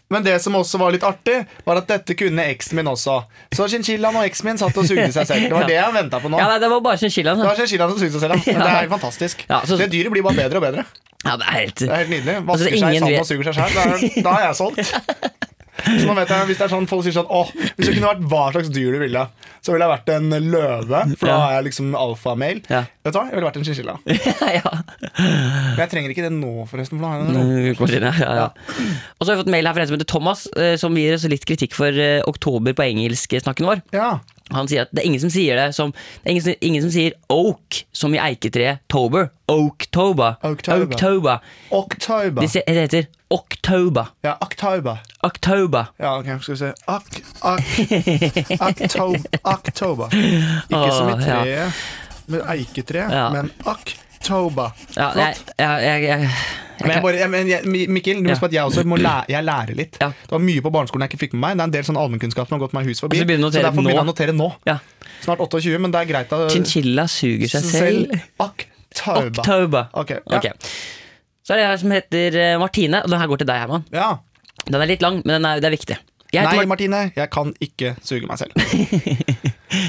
Speaker 2: Men det som også var litt artig, var at dette kunne eksen min også. Så chinchillaen og eksen min satt og sugde seg selv. Det var det jeg venta på nå.
Speaker 3: Ja, nei, det var bare chinchillaen.
Speaker 2: Det
Speaker 3: da.
Speaker 2: var chinchillaen som sugde seg selv, ja. Men det er helt fantastisk.
Speaker 3: Ja, så-
Speaker 2: Det dyret blir bare bedre og bedre.
Speaker 3: Ja, det er helt...
Speaker 2: Det er helt nydelig.
Speaker 3: Altså,
Speaker 2: Vasker seg i
Speaker 3: ingen
Speaker 2: sanden
Speaker 3: vet-
Speaker 2: og suger seg selv. Da er- Da er jeg solgt. Så nå vet jeg, Hvis det er sånn folk sier sånn Åh, hvis du kunne vært hva slags dyr du ville, så ville jeg vært en løve, for da
Speaker 3: Ja.
Speaker 2: er jeg liksom alfamail.
Speaker 3: Ja.
Speaker 2: Vet du hva? Jeg ville vært en chinchilla.
Speaker 3: ja.
Speaker 2: Men jeg trenger ikke det nå, forresten. For da har jeg den nå.
Speaker 3: Mm, kommer inn, ja, ja, ja. Og så har vi fått mail her fra en som heter Thomas, eh, som gir oss litt kritikk for eh, oktober på engelsksnakken vår.
Speaker 2: Ja.
Speaker 3: Han sier at det er ingen som sier det som Det er ingen, som- ingen som sier oak som i eiketreet tober. Oaktober.
Speaker 2: Oaktober.
Speaker 3: Oaktober.
Speaker 2: Oktober.
Speaker 3: De sier, det heter oktober.
Speaker 2: Ja, oktober.
Speaker 3: Oktober.
Speaker 2: Ja, ok, skal vi se ak, ak, aktob, Oktober. Ikke som i
Speaker 3: Åh, ja.
Speaker 2: treet, med eiketre,
Speaker 3: Ja.
Speaker 2: men oktober.
Speaker 3: Ja, jeg,
Speaker 2: Flott.
Speaker 3: jeg, jeg, jeg,
Speaker 2: Men
Speaker 3: jeg
Speaker 2: jeg bare, jeg, men jeg, Mi- Mikkel, du må
Speaker 3: Ja.
Speaker 2: huske på at jeg også må lære, jeg lærer litt.
Speaker 3: Ja.
Speaker 2: Det var mye på barneskolen jeg ikke fikk med meg. Det er en del sånn allmennkunnskap som har gått meg hus forbi.
Speaker 3: Og så begynner du å notere
Speaker 2: derfor
Speaker 3: nå.
Speaker 2: begynner jeg å notere nå.
Speaker 3: ja.
Speaker 2: Snart 28, men det er greit. Da,
Speaker 3: Chinchilla suger seg selv.
Speaker 2: Oktober.
Speaker 3: Oktober.
Speaker 2: Ok, ja.
Speaker 3: Ok. Så er det jeg som heter eh, Martine, og den her går til deg, Herman.
Speaker 2: Ja.
Speaker 3: Den er litt lang, men den er, det er viktig. Jeg heter
Speaker 2: Nei,
Speaker 3: Mar-
Speaker 2: Martine, jeg kan ikke suge meg selv.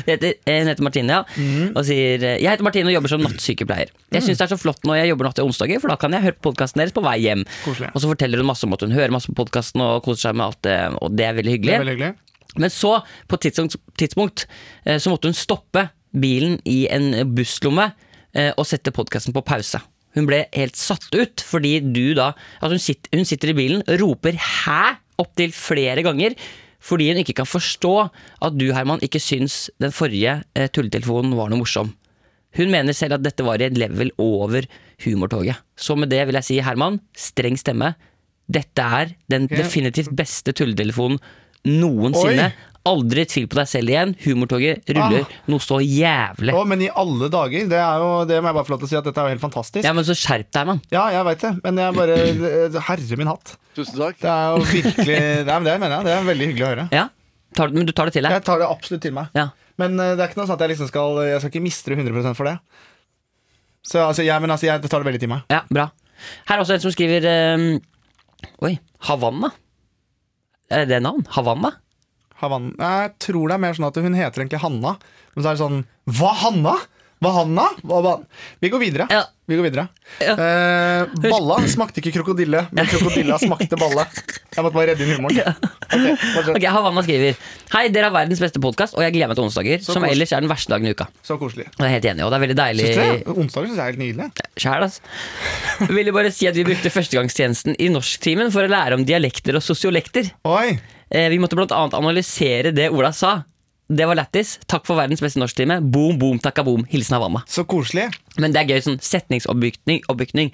Speaker 3: Det heter, eh, hun heter Martine, ja.
Speaker 2: Mhm.
Speaker 3: Og sier eh, Jeg heter Martine og jobber som nattsykepleier. Jeg syns det er så flott når jeg jobber natt til onsdager, for da kan jeg høre på podkasten deres på vei hjem.
Speaker 2: Koselig.
Speaker 3: Og så forteller hun masse om at hun hører masse på podkasten og koser seg med alt det, og det er veldig hyggelig.
Speaker 2: Det er veldig hyggelig.
Speaker 3: Men så, på et tidspunkt, tidspunkt eh, så måtte hun stoppe bilen i en busslomme eh, og sette podkasten på pause. Hun ble helt satt ut, fordi du da altså hun, sitter, hun sitter i bilen, roper 'hæ?' opptil flere ganger. Fordi hun ikke kan forstå at du, Herman, ikke syns den forrige eh, tulletelefonen var noe morsom. Hun mener selv at dette var i et level over humortoget. Så med det vil jeg si, Herman, streng stemme. Dette er den
Speaker 2: Ok.
Speaker 3: definitivt beste tulletelefonen noensinne. Aldri tvil på deg selv igjen. Humortoget ruller
Speaker 2: Ah.
Speaker 3: noe så jævlig.
Speaker 2: Å, men i alle dager, det, er jo, det må jeg bare få lov til å si at dette er jo helt fantastisk.
Speaker 3: Ja, men så skjerp deg, mann.
Speaker 2: Ja, jeg veit det, men jeg bare Herre min hatt.
Speaker 1: Tusen takk.
Speaker 2: Det er jo virkelig Nei, men det mener jeg. Det er veldig hyggelig å høre.
Speaker 3: Ja. Tar, men du tar det til deg?
Speaker 2: Jeg tar det absolutt til meg.
Speaker 3: Ja.
Speaker 2: Men eh, det er ikke noe sånn at jeg liksom skal Jeg skal ikke miste det 100 for det. Så altså, jeg, men altså, jeg tar det veldig til meg.
Speaker 3: ja, bra. Her er også en som skriver ehm, Oi. Havanna. Er det navn? Havanna?
Speaker 2: Havan. Jeg tror det er mer sånn at hun heter egentlig Hanna, men så er det sånn Hva, Hanna? Hva, Hanna? Hva, hva? Vi går videre.
Speaker 3: Ja.
Speaker 2: Vi går videre.
Speaker 3: Ja.
Speaker 2: Eh, balla smakte ikke krokodille, men krokodilla smakte balle. Jeg måtte bare redde inn humoren. Ok, fortsett.
Speaker 3: Ok, Havanna skriver Hei, dere er verdens beste podkast, og jeg gleder meg til onsdager,
Speaker 2: Så
Speaker 3: som
Speaker 2: koselig.
Speaker 3: ellers er den verste dagen i uka.
Speaker 2: Så koselig.
Speaker 3: Jeg er helt enig, og det er veldig deilig
Speaker 2: Syns du det? Onsdager syns jeg er helt nydelig.
Speaker 3: sjæl, altså. Jeg ville bare si at vi brukte førstegangstjenesten i norsktimen for å lære om dialekter og sosiolekter.
Speaker 2: Oi!
Speaker 3: Eh, Vi måtte blant annet analysere det Ola sa. Det var lættis. Takk for verdens beste norsktime. Boom, boom, takka boom. Hilsen Havanna.
Speaker 2: Så koselig.
Speaker 3: Men det er gøy sånn setningsoppbygning. oppbygning.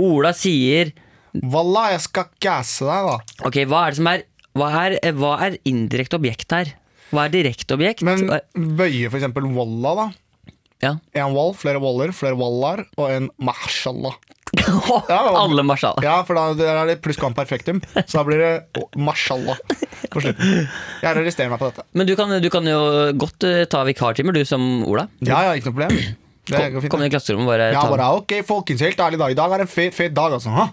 Speaker 3: Ola sier
Speaker 2: Valla, jeg skal gasse deg, da.
Speaker 3: Ok, hva er det som er Hva er, eh, hva er indirekte objekt her? Hva er direkte objekt?
Speaker 2: Men
Speaker 3: Hva-
Speaker 2: bøye for eksempel walla, da.
Speaker 3: ja.
Speaker 2: En wall, flere waller, flere wallar og en mashallah.
Speaker 3: Alle marsjal.
Speaker 2: Ja, for da der er det pluss kan perfektum, så da blir det mashallah på slutten. Jeg arresterer meg på dette.
Speaker 3: Men du kan, du kan jo godt eh, ta vikartimer, du som Ola.
Speaker 2: Ja, ja, ikke noe problem. Det går
Speaker 3: Kom
Speaker 2: fint.
Speaker 3: inn i klasserommet og bare
Speaker 2: Ja,
Speaker 3: ta
Speaker 2: bare ok, folkens, helt ærlig da. I dag er en fet, fet dag, altså. hæ?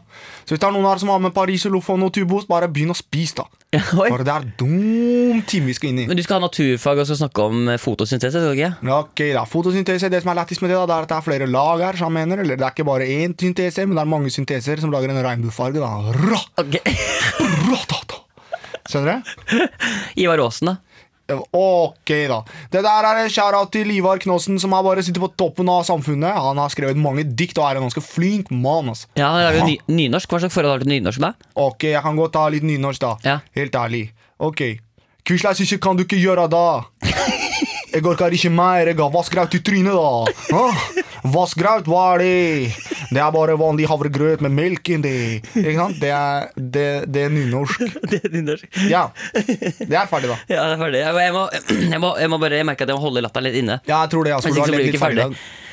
Speaker 2: Så hvis det er noen her som har med pariserloff og noe tubost, bare begynn å spise, da.
Speaker 3: Oi.
Speaker 2: For det er dum time vi skal inn i.
Speaker 3: Men du skal ha naturfag og skal snakke om eh, fotosyntese, skal du ikke?
Speaker 2: Ok da, Fotosyntese, det som er lættis med det, da, det er at det er flere lag her. som mener, eller Det er ikke bare én syntese, men det er mange synteser som lager en regnbuefarge. da. Rå,
Speaker 3: Ok.
Speaker 2: rå, da, da. Skjønner du?
Speaker 3: Ivar Aasen, da.
Speaker 2: Ok, da. Det der er en shout-out til Ivar Knossen, som er bare sitter på toppen av samfunnet. Han har skrevet mange dikt og er en ganske flink mann. altså.
Speaker 3: Ja, han lager jo ny, nynorsk. Hva slags forhold har du til nynorsk, da?
Speaker 2: Ok, jeg kan godt ta litt nynorsk, da.
Speaker 3: Ja.
Speaker 2: Helt ærlig. Ok. Quislas ikke kan du ikke gjøre, da. Jeg orker ikke mer. Jeg har vassgraut i trynet, da. Hå? Vassgraut, hva er det? Det er bare vanlig havregrøt med melk inni. Ikke sant? Det er, det, det er nynorsk.
Speaker 3: Det er nynorsk.
Speaker 2: Ja. Det er ferdig, da.
Speaker 3: Ja, det er ferdig. Jeg må, jeg må, jeg må, jeg må bare jeg merker at jeg må holde latteren litt inne.
Speaker 2: Ja, jeg tror det. Altså,
Speaker 3: Hvis
Speaker 2: du har
Speaker 3: ikke så blir
Speaker 2: levd
Speaker 3: vi
Speaker 2: litt
Speaker 3: ikke
Speaker 2: ferdig.
Speaker 3: ferdig.
Speaker 2: da.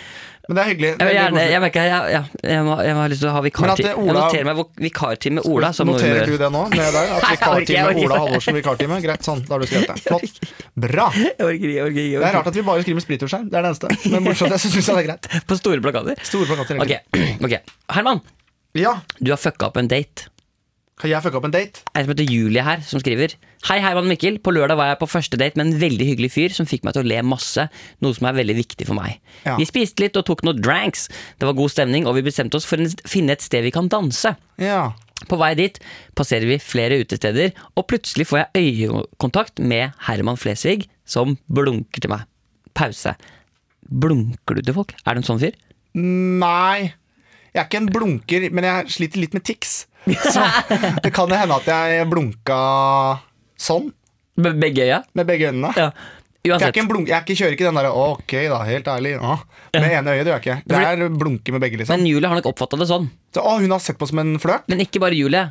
Speaker 2: Men det er hyggelig.
Speaker 3: Jeg,
Speaker 2: Det
Speaker 3: vil
Speaker 2: er
Speaker 3: gjerne,
Speaker 2: koselig.
Speaker 3: jeg merker jeg, ja, jeg, må, jeg må ha lyst til å ha vikartime.
Speaker 2: Men at det,
Speaker 3: Jeg
Speaker 2: Ola-
Speaker 3: noterer meg vok- vikartime Ola. Som noe vi må
Speaker 2: Noterer du
Speaker 3: gjøre.
Speaker 2: det nå? Ned der, at
Speaker 3: Nei, jeg orker, jeg
Speaker 2: vikartime
Speaker 3: orker.
Speaker 2: Ola Halvorsen vikartime. Greit, sånn. Da har du skrevet det. Flott. Bra.
Speaker 3: Jeg orker ikke, jeg orker ikke, jeg
Speaker 2: Det er
Speaker 3: orker
Speaker 2: rart at vi bare skriver med sprittusjskjerm. Det er det eneste. Men bortsett fra det, så synes jeg det er greit.
Speaker 3: ikke. På store plakater.
Speaker 2: Store plakater.
Speaker 3: Ok,
Speaker 2: egentlig.
Speaker 3: ok. Herman,
Speaker 2: Ja,
Speaker 3: du har fucka opp en date.
Speaker 2: Kan jeg fucke opp en date?
Speaker 3: ei som heter Julie her, som skriver Hei, Herman og Mikkel. På lørdag var jeg på første date med en veldig hyggelig fyr som fikk meg til å le masse, noe som er veldig viktig for meg.
Speaker 2: Ja.
Speaker 3: Vi spiste litt og tok noen dranks. Det var god stemning, og vi bestemte oss for å finne et sted vi kan danse.
Speaker 2: Ja.
Speaker 3: På vei dit passerer vi flere utesteder, og plutselig får jeg øyekontakt med Herman Flesvig, som blunker til meg. Pause. Blunker du til folk? Er du en sånn fyr?
Speaker 2: Nei. Jeg er ikke en blunker, men jeg sliter litt med tics. Så det kan jo hende at jeg blunka sånn
Speaker 3: Med begge øya?
Speaker 2: med begge øynene.
Speaker 3: Ja.
Speaker 2: Jeg, er
Speaker 3: Uansett.
Speaker 2: ikke en blunk, jeg er ikke, kjører ikke den derre 'ok, da, helt ærlig', ja. med ene øyet. det gjør jeg ikke Det er blunke med begge, liksom.
Speaker 3: Men Julie har nok oppfatta det sånn.
Speaker 2: Så, å, hun har sett på som en flørt.
Speaker 3: Men ikke bare Julie.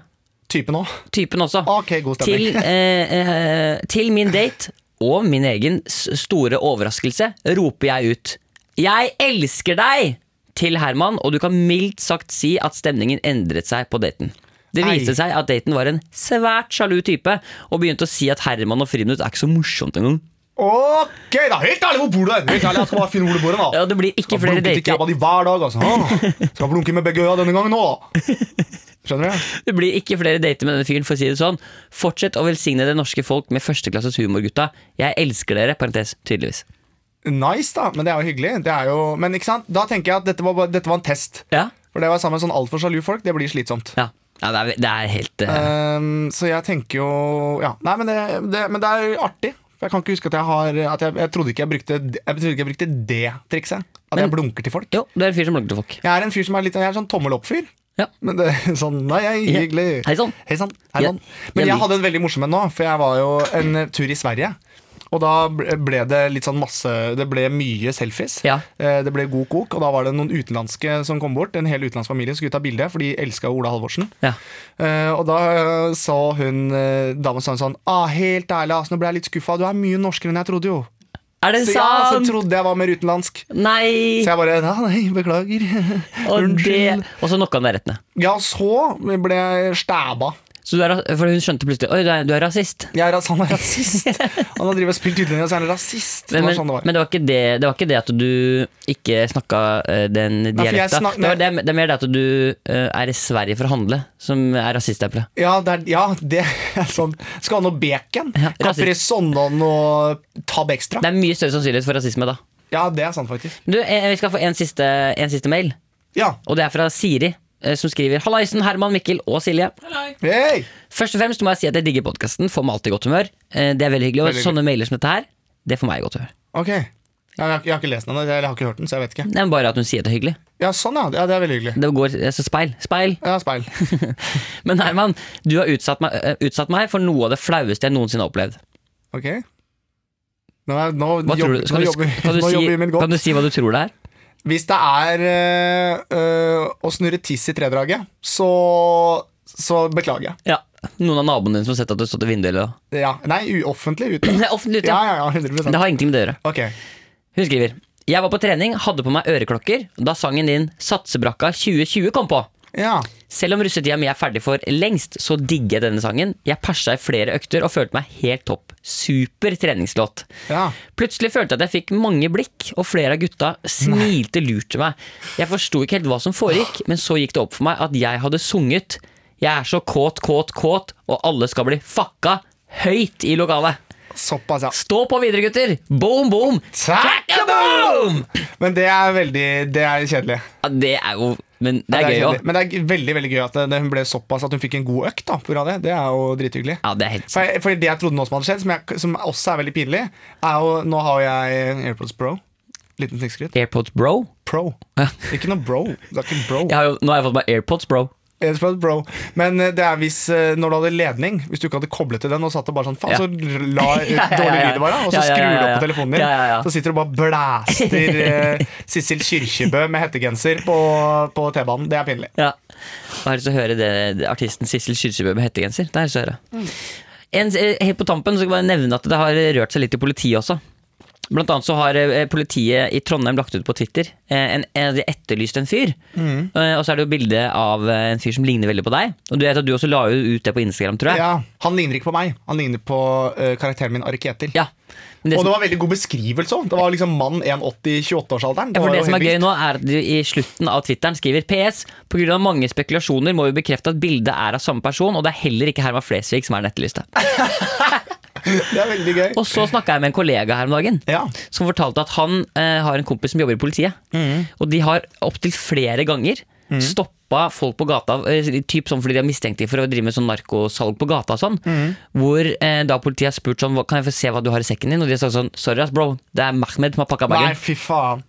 Speaker 2: Typen òg.
Speaker 3: Typen også.
Speaker 2: Ok, god stemning.
Speaker 3: Til, eh, eh, til min date og min egen s- store overraskelse roper jeg ut 'Jeg elsker deg!' til Herman, og du kan mildt sagt si at stemningen endret seg på daten. Det viste
Speaker 2: Ei.
Speaker 3: seg at daten var en svært sjalu type, og begynte å si at Herman og Friminutt er ikke så morsomt engang.
Speaker 2: Ok, da, helt ærlig, hvor bor du? hen? Helt ærlig, Jeg skal bare finne hvor du bor hen, da.
Speaker 3: Ja, det blir ikke flere
Speaker 2: Blunket ikke
Speaker 3: dater.
Speaker 2: jeg på de hver dag, altså. Å, Skal blunke med begge øya denne gangen òg. Skjønner du?
Speaker 3: Det blir ikke flere dater med denne fyren, for å si det sånn. Fortsett å velsigne det norske folk med førsteklasses humor, gutta. Jeg elsker dere, parentes, tydeligvis.
Speaker 2: Nice, da. Men det er jo hyggelig. Det er jo, men ikke sant? da tenker jeg at dette var, bare- dette var en test.
Speaker 3: Ja?
Speaker 2: For det å være sammen med sånn altfor sjalu folk, det blir slitsomt.
Speaker 3: Ja, ja det, er, det er helt eh,
Speaker 2: Ehm, så jeg tenker jo Ja. Nei, men det, det, men det er artig. For Jeg kan ikke huske at jeg har at jeg, jeg trodde ikke jeg brukte det- Jeg trodde ikke jeg brukte det trikset. At jeg blunker til folk.
Speaker 3: Jo, du er en fyr som blogger til folk.
Speaker 2: Jeg er en fyr som er litt Jeg er en sånn tommel opp-fyr.
Speaker 3: Ja.
Speaker 2: Men det er sånn Nei, jeg
Speaker 3: Ja.
Speaker 2: er hyggelig.
Speaker 3: Hei sann.
Speaker 2: Hei sann. Hei
Speaker 3: Ja.
Speaker 2: sann. Men jeg
Speaker 3: Jeg lik-
Speaker 2: hadde en veldig morsom en nå, for jeg var jo en eh, tur i Sverige. Og da ble ble det litt sånn masse Det ble mye selfies.
Speaker 3: Ja.
Speaker 2: Eh, Det ble god kok, og da var det noen utenlandske som kom bort. En hel utenlandsk familie som skulle ta bilde, for de elska Ola Halvorsen.
Speaker 3: Ja.
Speaker 2: Eh, og da eh, sa hun eh, dama sa hun sånn ah, 'Helt ærlig, ass, nå ble jeg litt skuffa. Du er mye norskere enn jeg trodde, jo.'
Speaker 3: Er det
Speaker 2: Så, ja, så
Speaker 3: sant?
Speaker 2: trodde jeg var mer utenlandsk.
Speaker 3: Nei!
Speaker 2: Så jeg bare ja, 'Nei, beklager'.
Speaker 3: Og det-
Speaker 2: Unnskyld.
Speaker 3: Og så knocka han deg rett ned.
Speaker 2: Ja, så ble jeg stæba.
Speaker 3: Så du er, ra- for hun skjønte plutselig Oi, du er, du er rasist.
Speaker 2: Jeg er, ras- han er rasist. Han har drevet og spilt utlending, og så er han rasist. Det
Speaker 3: Men,
Speaker 2: var
Speaker 3: men,
Speaker 2: sånn det var.
Speaker 3: men det, var ikke det, det var ikke det at du ikke snakka eh, den
Speaker 2: for jeg
Speaker 3: dialekta.
Speaker 2: snak-
Speaker 3: det, var, det, er- det er mer det at du eh, er i Sverige for å handle, som er rasiststempelet.
Speaker 2: Ja, det er, ja, det er sånn. Skal han ha noe bacon?
Speaker 3: Ja,
Speaker 2: Capricornon og tab extra?
Speaker 3: Det er mye større sannsynlighet for rasisme da.
Speaker 2: Ja, det er sant, faktisk.
Speaker 3: Du, eh, vi skal få en siste, en siste mail,
Speaker 2: Ja.
Speaker 3: og det er fra Siri. eh, Som skriver Hallaisen, Herman, Mikkel og Silje.
Speaker 2: Hei!
Speaker 3: Først og fremst må jeg si at jeg digger podkasten. Får meg alltid i godt humør. Eh, Det er veldig hyggelig. Og
Speaker 2: Veldig hyggelig.
Speaker 3: sånne mailer som dette her, det får meg i godt humør.
Speaker 2: Ok. Jeg, jeg, har- jeg har ikke lest den ennå, eller jeg har ikke hørt den, så jeg vet ikke.
Speaker 3: Nei, men bare at hun sier det er hyggelig.
Speaker 2: Ja, sånn, ja. ja det er veldig hyggelig.
Speaker 3: Det går, altså speil, speil.
Speaker 2: Ja, speil.
Speaker 3: Men Herman, du har utsatt meg, eh, utsatt meg for noe av det flaueste jeg noensinne har opplevd.
Speaker 2: Ok. Nå, er, nå,
Speaker 3: Hva tror
Speaker 2: jobber,
Speaker 3: du?
Speaker 2: nå,
Speaker 3: Skal du,
Speaker 2: jobber,
Speaker 3: kan, du
Speaker 2: nå jobber
Speaker 3: si,
Speaker 2: min
Speaker 3: kan
Speaker 2: godt.
Speaker 3: du si hva du tror det er?
Speaker 2: Hvis det er øh, øh, å snurre tiss i tredraget, så, så beklager jeg.
Speaker 3: Ja. Noen av naboene dine som har sett at du har stått i vinduet eller noe?
Speaker 2: Ja. Nei, uoffentlig ute.
Speaker 3: Det er offentlig ute,
Speaker 2: Ja,
Speaker 3: ja.
Speaker 2: ja, ja, 100
Speaker 3: Det har ingenting med det å gjøre.
Speaker 2: Ok,
Speaker 3: Hun skriver Jeg var på trening, hadde på meg øreklokker da sangen din Satsebrakka 2020 kom på.
Speaker 2: ja
Speaker 3: Selv om russetida mi er ferdig for lengst, så digger jeg denne sangen. Jeg persa i flere økter og følte meg helt topp. Super treningslåt.
Speaker 2: Ja.
Speaker 3: Plutselig følte jeg at jeg fikk mange blikk, og flere av gutta smilte lurt til meg. Jeg forsto ikke helt hva som foregikk, men så gikk det opp for meg at jeg hadde sunget 'Jeg er så kåt, kåt, kåt, og alle skal bli fucka' høyt i lokalet.
Speaker 2: Såpass, ja.
Speaker 3: Stå på videre, gutter! Boom, boom! Boom!
Speaker 2: Men det er veldig Det er kjedelig.
Speaker 3: Ja, det er jo Men
Speaker 2: Ja,
Speaker 3: det er gøy
Speaker 2: kjedelig.
Speaker 3: òg.
Speaker 2: Men det er g- veldig veldig gøy at det, hun ble såpass at hun fikk en god økt da, på grunn av det. Det er jo drithyggelig.
Speaker 3: Ja, det er helt
Speaker 2: For, jeg, for det jeg trodde nå som hadde skjedd, som, jeg, som også er veldig pinlig, er jo Nå har jeg AirPods Pro. Liten snikskryt.
Speaker 3: AirPods bro.
Speaker 2: Pro. Ikke noe bro. Det er ikke bro.
Speaker 3: Jeg har jo, nå har jeg fått meg AirPods bro.
Speaker 2: AirPods Pro. Men eh, det er hvis eh, når du hadde ledning, hvis du ikke hadde koblet til den og satt det bare sånn faen,
Speaker 3: Ja.
Speaker 2: så la
Speaker 3: Ja, ja, ja,
Speaker 2: dårlig
Speaker 3: ja.
Speaker 2: lyd bare, og så
Speaker 3: Ja, ja, ja,
Speaker 2: skrur du opp
Speaker 3: ja.
Speaker 2: på telefonen din,
Speaker 3: Ja, ja, ja.
Speaker 2: så sitter du og bare blæster eh, Sissel Kyrkjebø med hettegenser på, på T-banen. Det er pinlig.
Speaker 3: Ja. Og jeg har lyst til å høre det, det artisten Sissel Kyrkjebø med hettegenser. Det har jeg lyst til å høre. En, eh, helt på tampen så skal jeg bare nevne at det har rørt seg litt i politiet også. Blant annet så har eh, politiet i Trondheim lagt ut på Twitter eh, en, en, De etterlyste en fyr.
Speaker 2: Mm.
Speaker 3: Eh, Og så er det jo bilde av eh, en fyr som ligner veldig på deg. Og du vet at du også la jo ut det på Instagram, tror jeg.
Speaker 2: Ja, han ligner ikke på meg. Han ligner på eh, karakteren min Ari Ketil.
Speaker 3: Ja. Men det
Speaker 2: Og
Speaker 3: som-
Speaker 2: det var veldig god beskrivelse òg. Det var liksom mann 1,80 i 28-årsalderen.
Speaker 3: Ja,
Speaker 2: var
Speaker 3: for det
Speaker 2: jo
Speaker 3: som er
Speaker 2: helt
Speaker 3: gøy
Speaker 2: vilt.
Speaker 3: nå er at du i slutten av Twitteren skriver PS. På grunn av mange spekulasjoner må vi bekrefte at bildet er av samme person, og det er heller ikke Herman Flesvig som er den etterlyste.
Speaker 2: Det er veldig gøy.
Speaker 3: Og så snakka jeg med en kollega her om dagen.
Speaker 2: Ja.
Speaker 3: Som fortalte at han eh, har en kompis som jobber i politiet.
Speaker 2: Mm.
Speaker 3: Og de har opptil flere ganger stoppa folk på gata, eh, typ sånn fordi de er mistenkt for å drive med sånn narkosalg på gata og sånn.
Speaker 2: Mm.
Speaker 3: Hvor eh, da politiet har spurt sånn, "Hva- kan jeg få se hva du har i sekken din? Og de har sagt sånn, sorry ass bro, det er Mahmed som har pakka
Speaker 2: Nei,
Speaker 3: bagen.
Speaker 2: fy faen.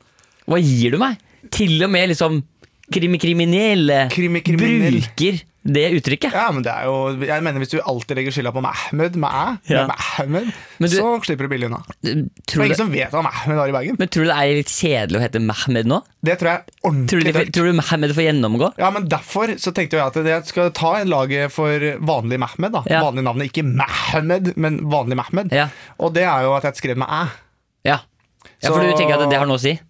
Speaker 3: Hva gir du meg? Til og med liksom krimi kriminelle
Speaker 2: Krimi kriminell.
Speaker 3: bruker det uttrykket.
Speaker 2: Ja, men det er jo, jeg mener Hvis du alltid legger skylda på Mahmed, med æ,
Speaker 3: Ja.
Speaker 2: med Mahmed,
Speaker 3: Men du-
Speaker 2: så slipper du billig unna. Det er
Speaker 3: Tror du,
Speaker 2: ingen som vet hva Mahmed har i bagen.
Speaker 3: men tror du det er litt kjedelig å hete Mehmed nå?
Speaker 2: Det tror jeg er
Speaker 3: Tror du,
Speaker 2: ordentlig
Speaker 3: de,
Speaker 2: tørt.
Speaker 3: tror du Mehmed får gjennomgå?
Speaker 2: Ja, men Derfor så tenkte jo jeg at jeg skal ta laget for vanlig Mahmed. da
Speaker 3: Ja.
Speaker 2: Vanlig navnet, ikke Mahmed, men vanlig Mahmed.
Speaker 3: Ja.
Speaker 2: Og det er jo at jeg skrev med æ.
Speaker 3: Ja. ja, for
Speaker 2: Så-
Speaker 3: du tenker at det har noe å si?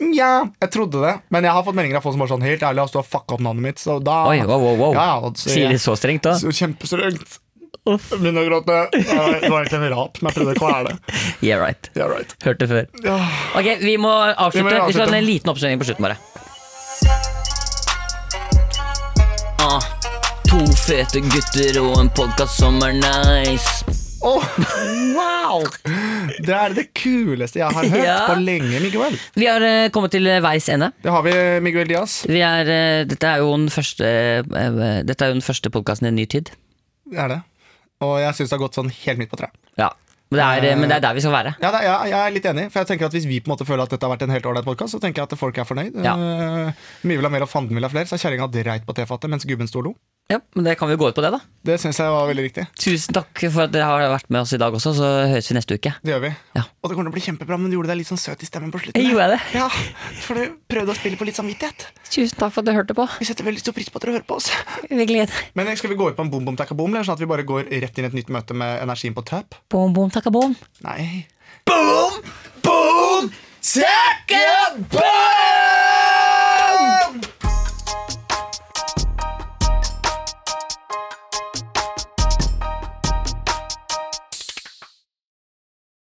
Speaker 2: Nja, jeg trodde det, men jeg har fått meldinger av folk som var sånn helt ærlig, altså, du har fucka opp navnet mitt, så da
Speaker 3: Oi, wow, wow, wow.
Speaker 2: Ja, ja, og så,
Speaker 3: Sier de
Speaker 2: jeg,
Speaker 3: så strengt, da?
Speaker 2: så kjempestrengt. Jeg Begynner å gråte. Det var det var egentlig en rap som jeg prøvde å kvele.
Speaker 3: Yeah, right.
Speaker 2: Yeah, right.
Speaker 3: Hørt det før.
Speaker 2: Ja.
Speaker 3: Ok, Vi må avslutte.
Speaker 2: Vi
Speaker 3: Vi,
Speaker 2: må avslutte.
Speaker 3: skal ha en liten oppsummering på slutten. bare ah, To fete gutter og en podkast som er nice.
Speaker 2: Åh, wow! Det er det kuleste jeg har hørt
Speaker 3: Ja.
Speaker 2: på lenge, Miguel.
Speaker 3: Vi har eh, kommet til eh, veis ende.
Speaker 2: Det har vi, Miguel Diaz.
Speaker 3: Vi er, eh, dette er jo den første, eh, dette er jo den første podkasten i en ny tid.
Speaker 2: Det er det. Og jeg syns det har gått sånn helt midt på treet.
Speaker 3: Ja, men det, er, eh, men det er der vi skal være.
Speaker 2: Ja, det, jeg, jeg er litt enig, for jeg tenker at hvis vi på en måte føler at dette har vært en helt ålreit podkast, så tenker jeg at folk er fornøyd.
Speaker 3: Ja.
Speaker 2: Eh, mye vil ha mer, og fanden vil ha flere, sa kjerringa dreit på tefatet mens gubben sto og lo.
Speaker 3: Ja, men det kan vi gå ut på det, da.
Speaker 2: Det syns jeg var veldig riktig.
Speaker 3: Tusen takk for at dere har vært med oss i dag også, så høres vi neste uke.
Speaker 2: Det gjør vi.
Speaker 3: Ja.
Speaker 2: Og det kommer til å bli kjempebra, men du gjorde deg litt sånn søt i stemmen på slutten.
Speaker 3: Jeg
Speaker 2: der.
Speaker 3: gjorde det.
Speaker 2: Ja, for du prøvde å spille på litt samvittighet.
Speaker 3: Tusen takk for at du hørte på.
Speaker 2: Vi setter veldig stor pris på at dere hører på oss.
Speaker 3: Vi gleder
Speaker 2: Men skal vi gå ut på en bom bom takka bom, eller sånn at vi bare går rett inn i et nytt møte med energien på tap?
Speaker 3: Bom, bom, takka bom.
Speaker 2: Nei. Boom, boom, takka bom!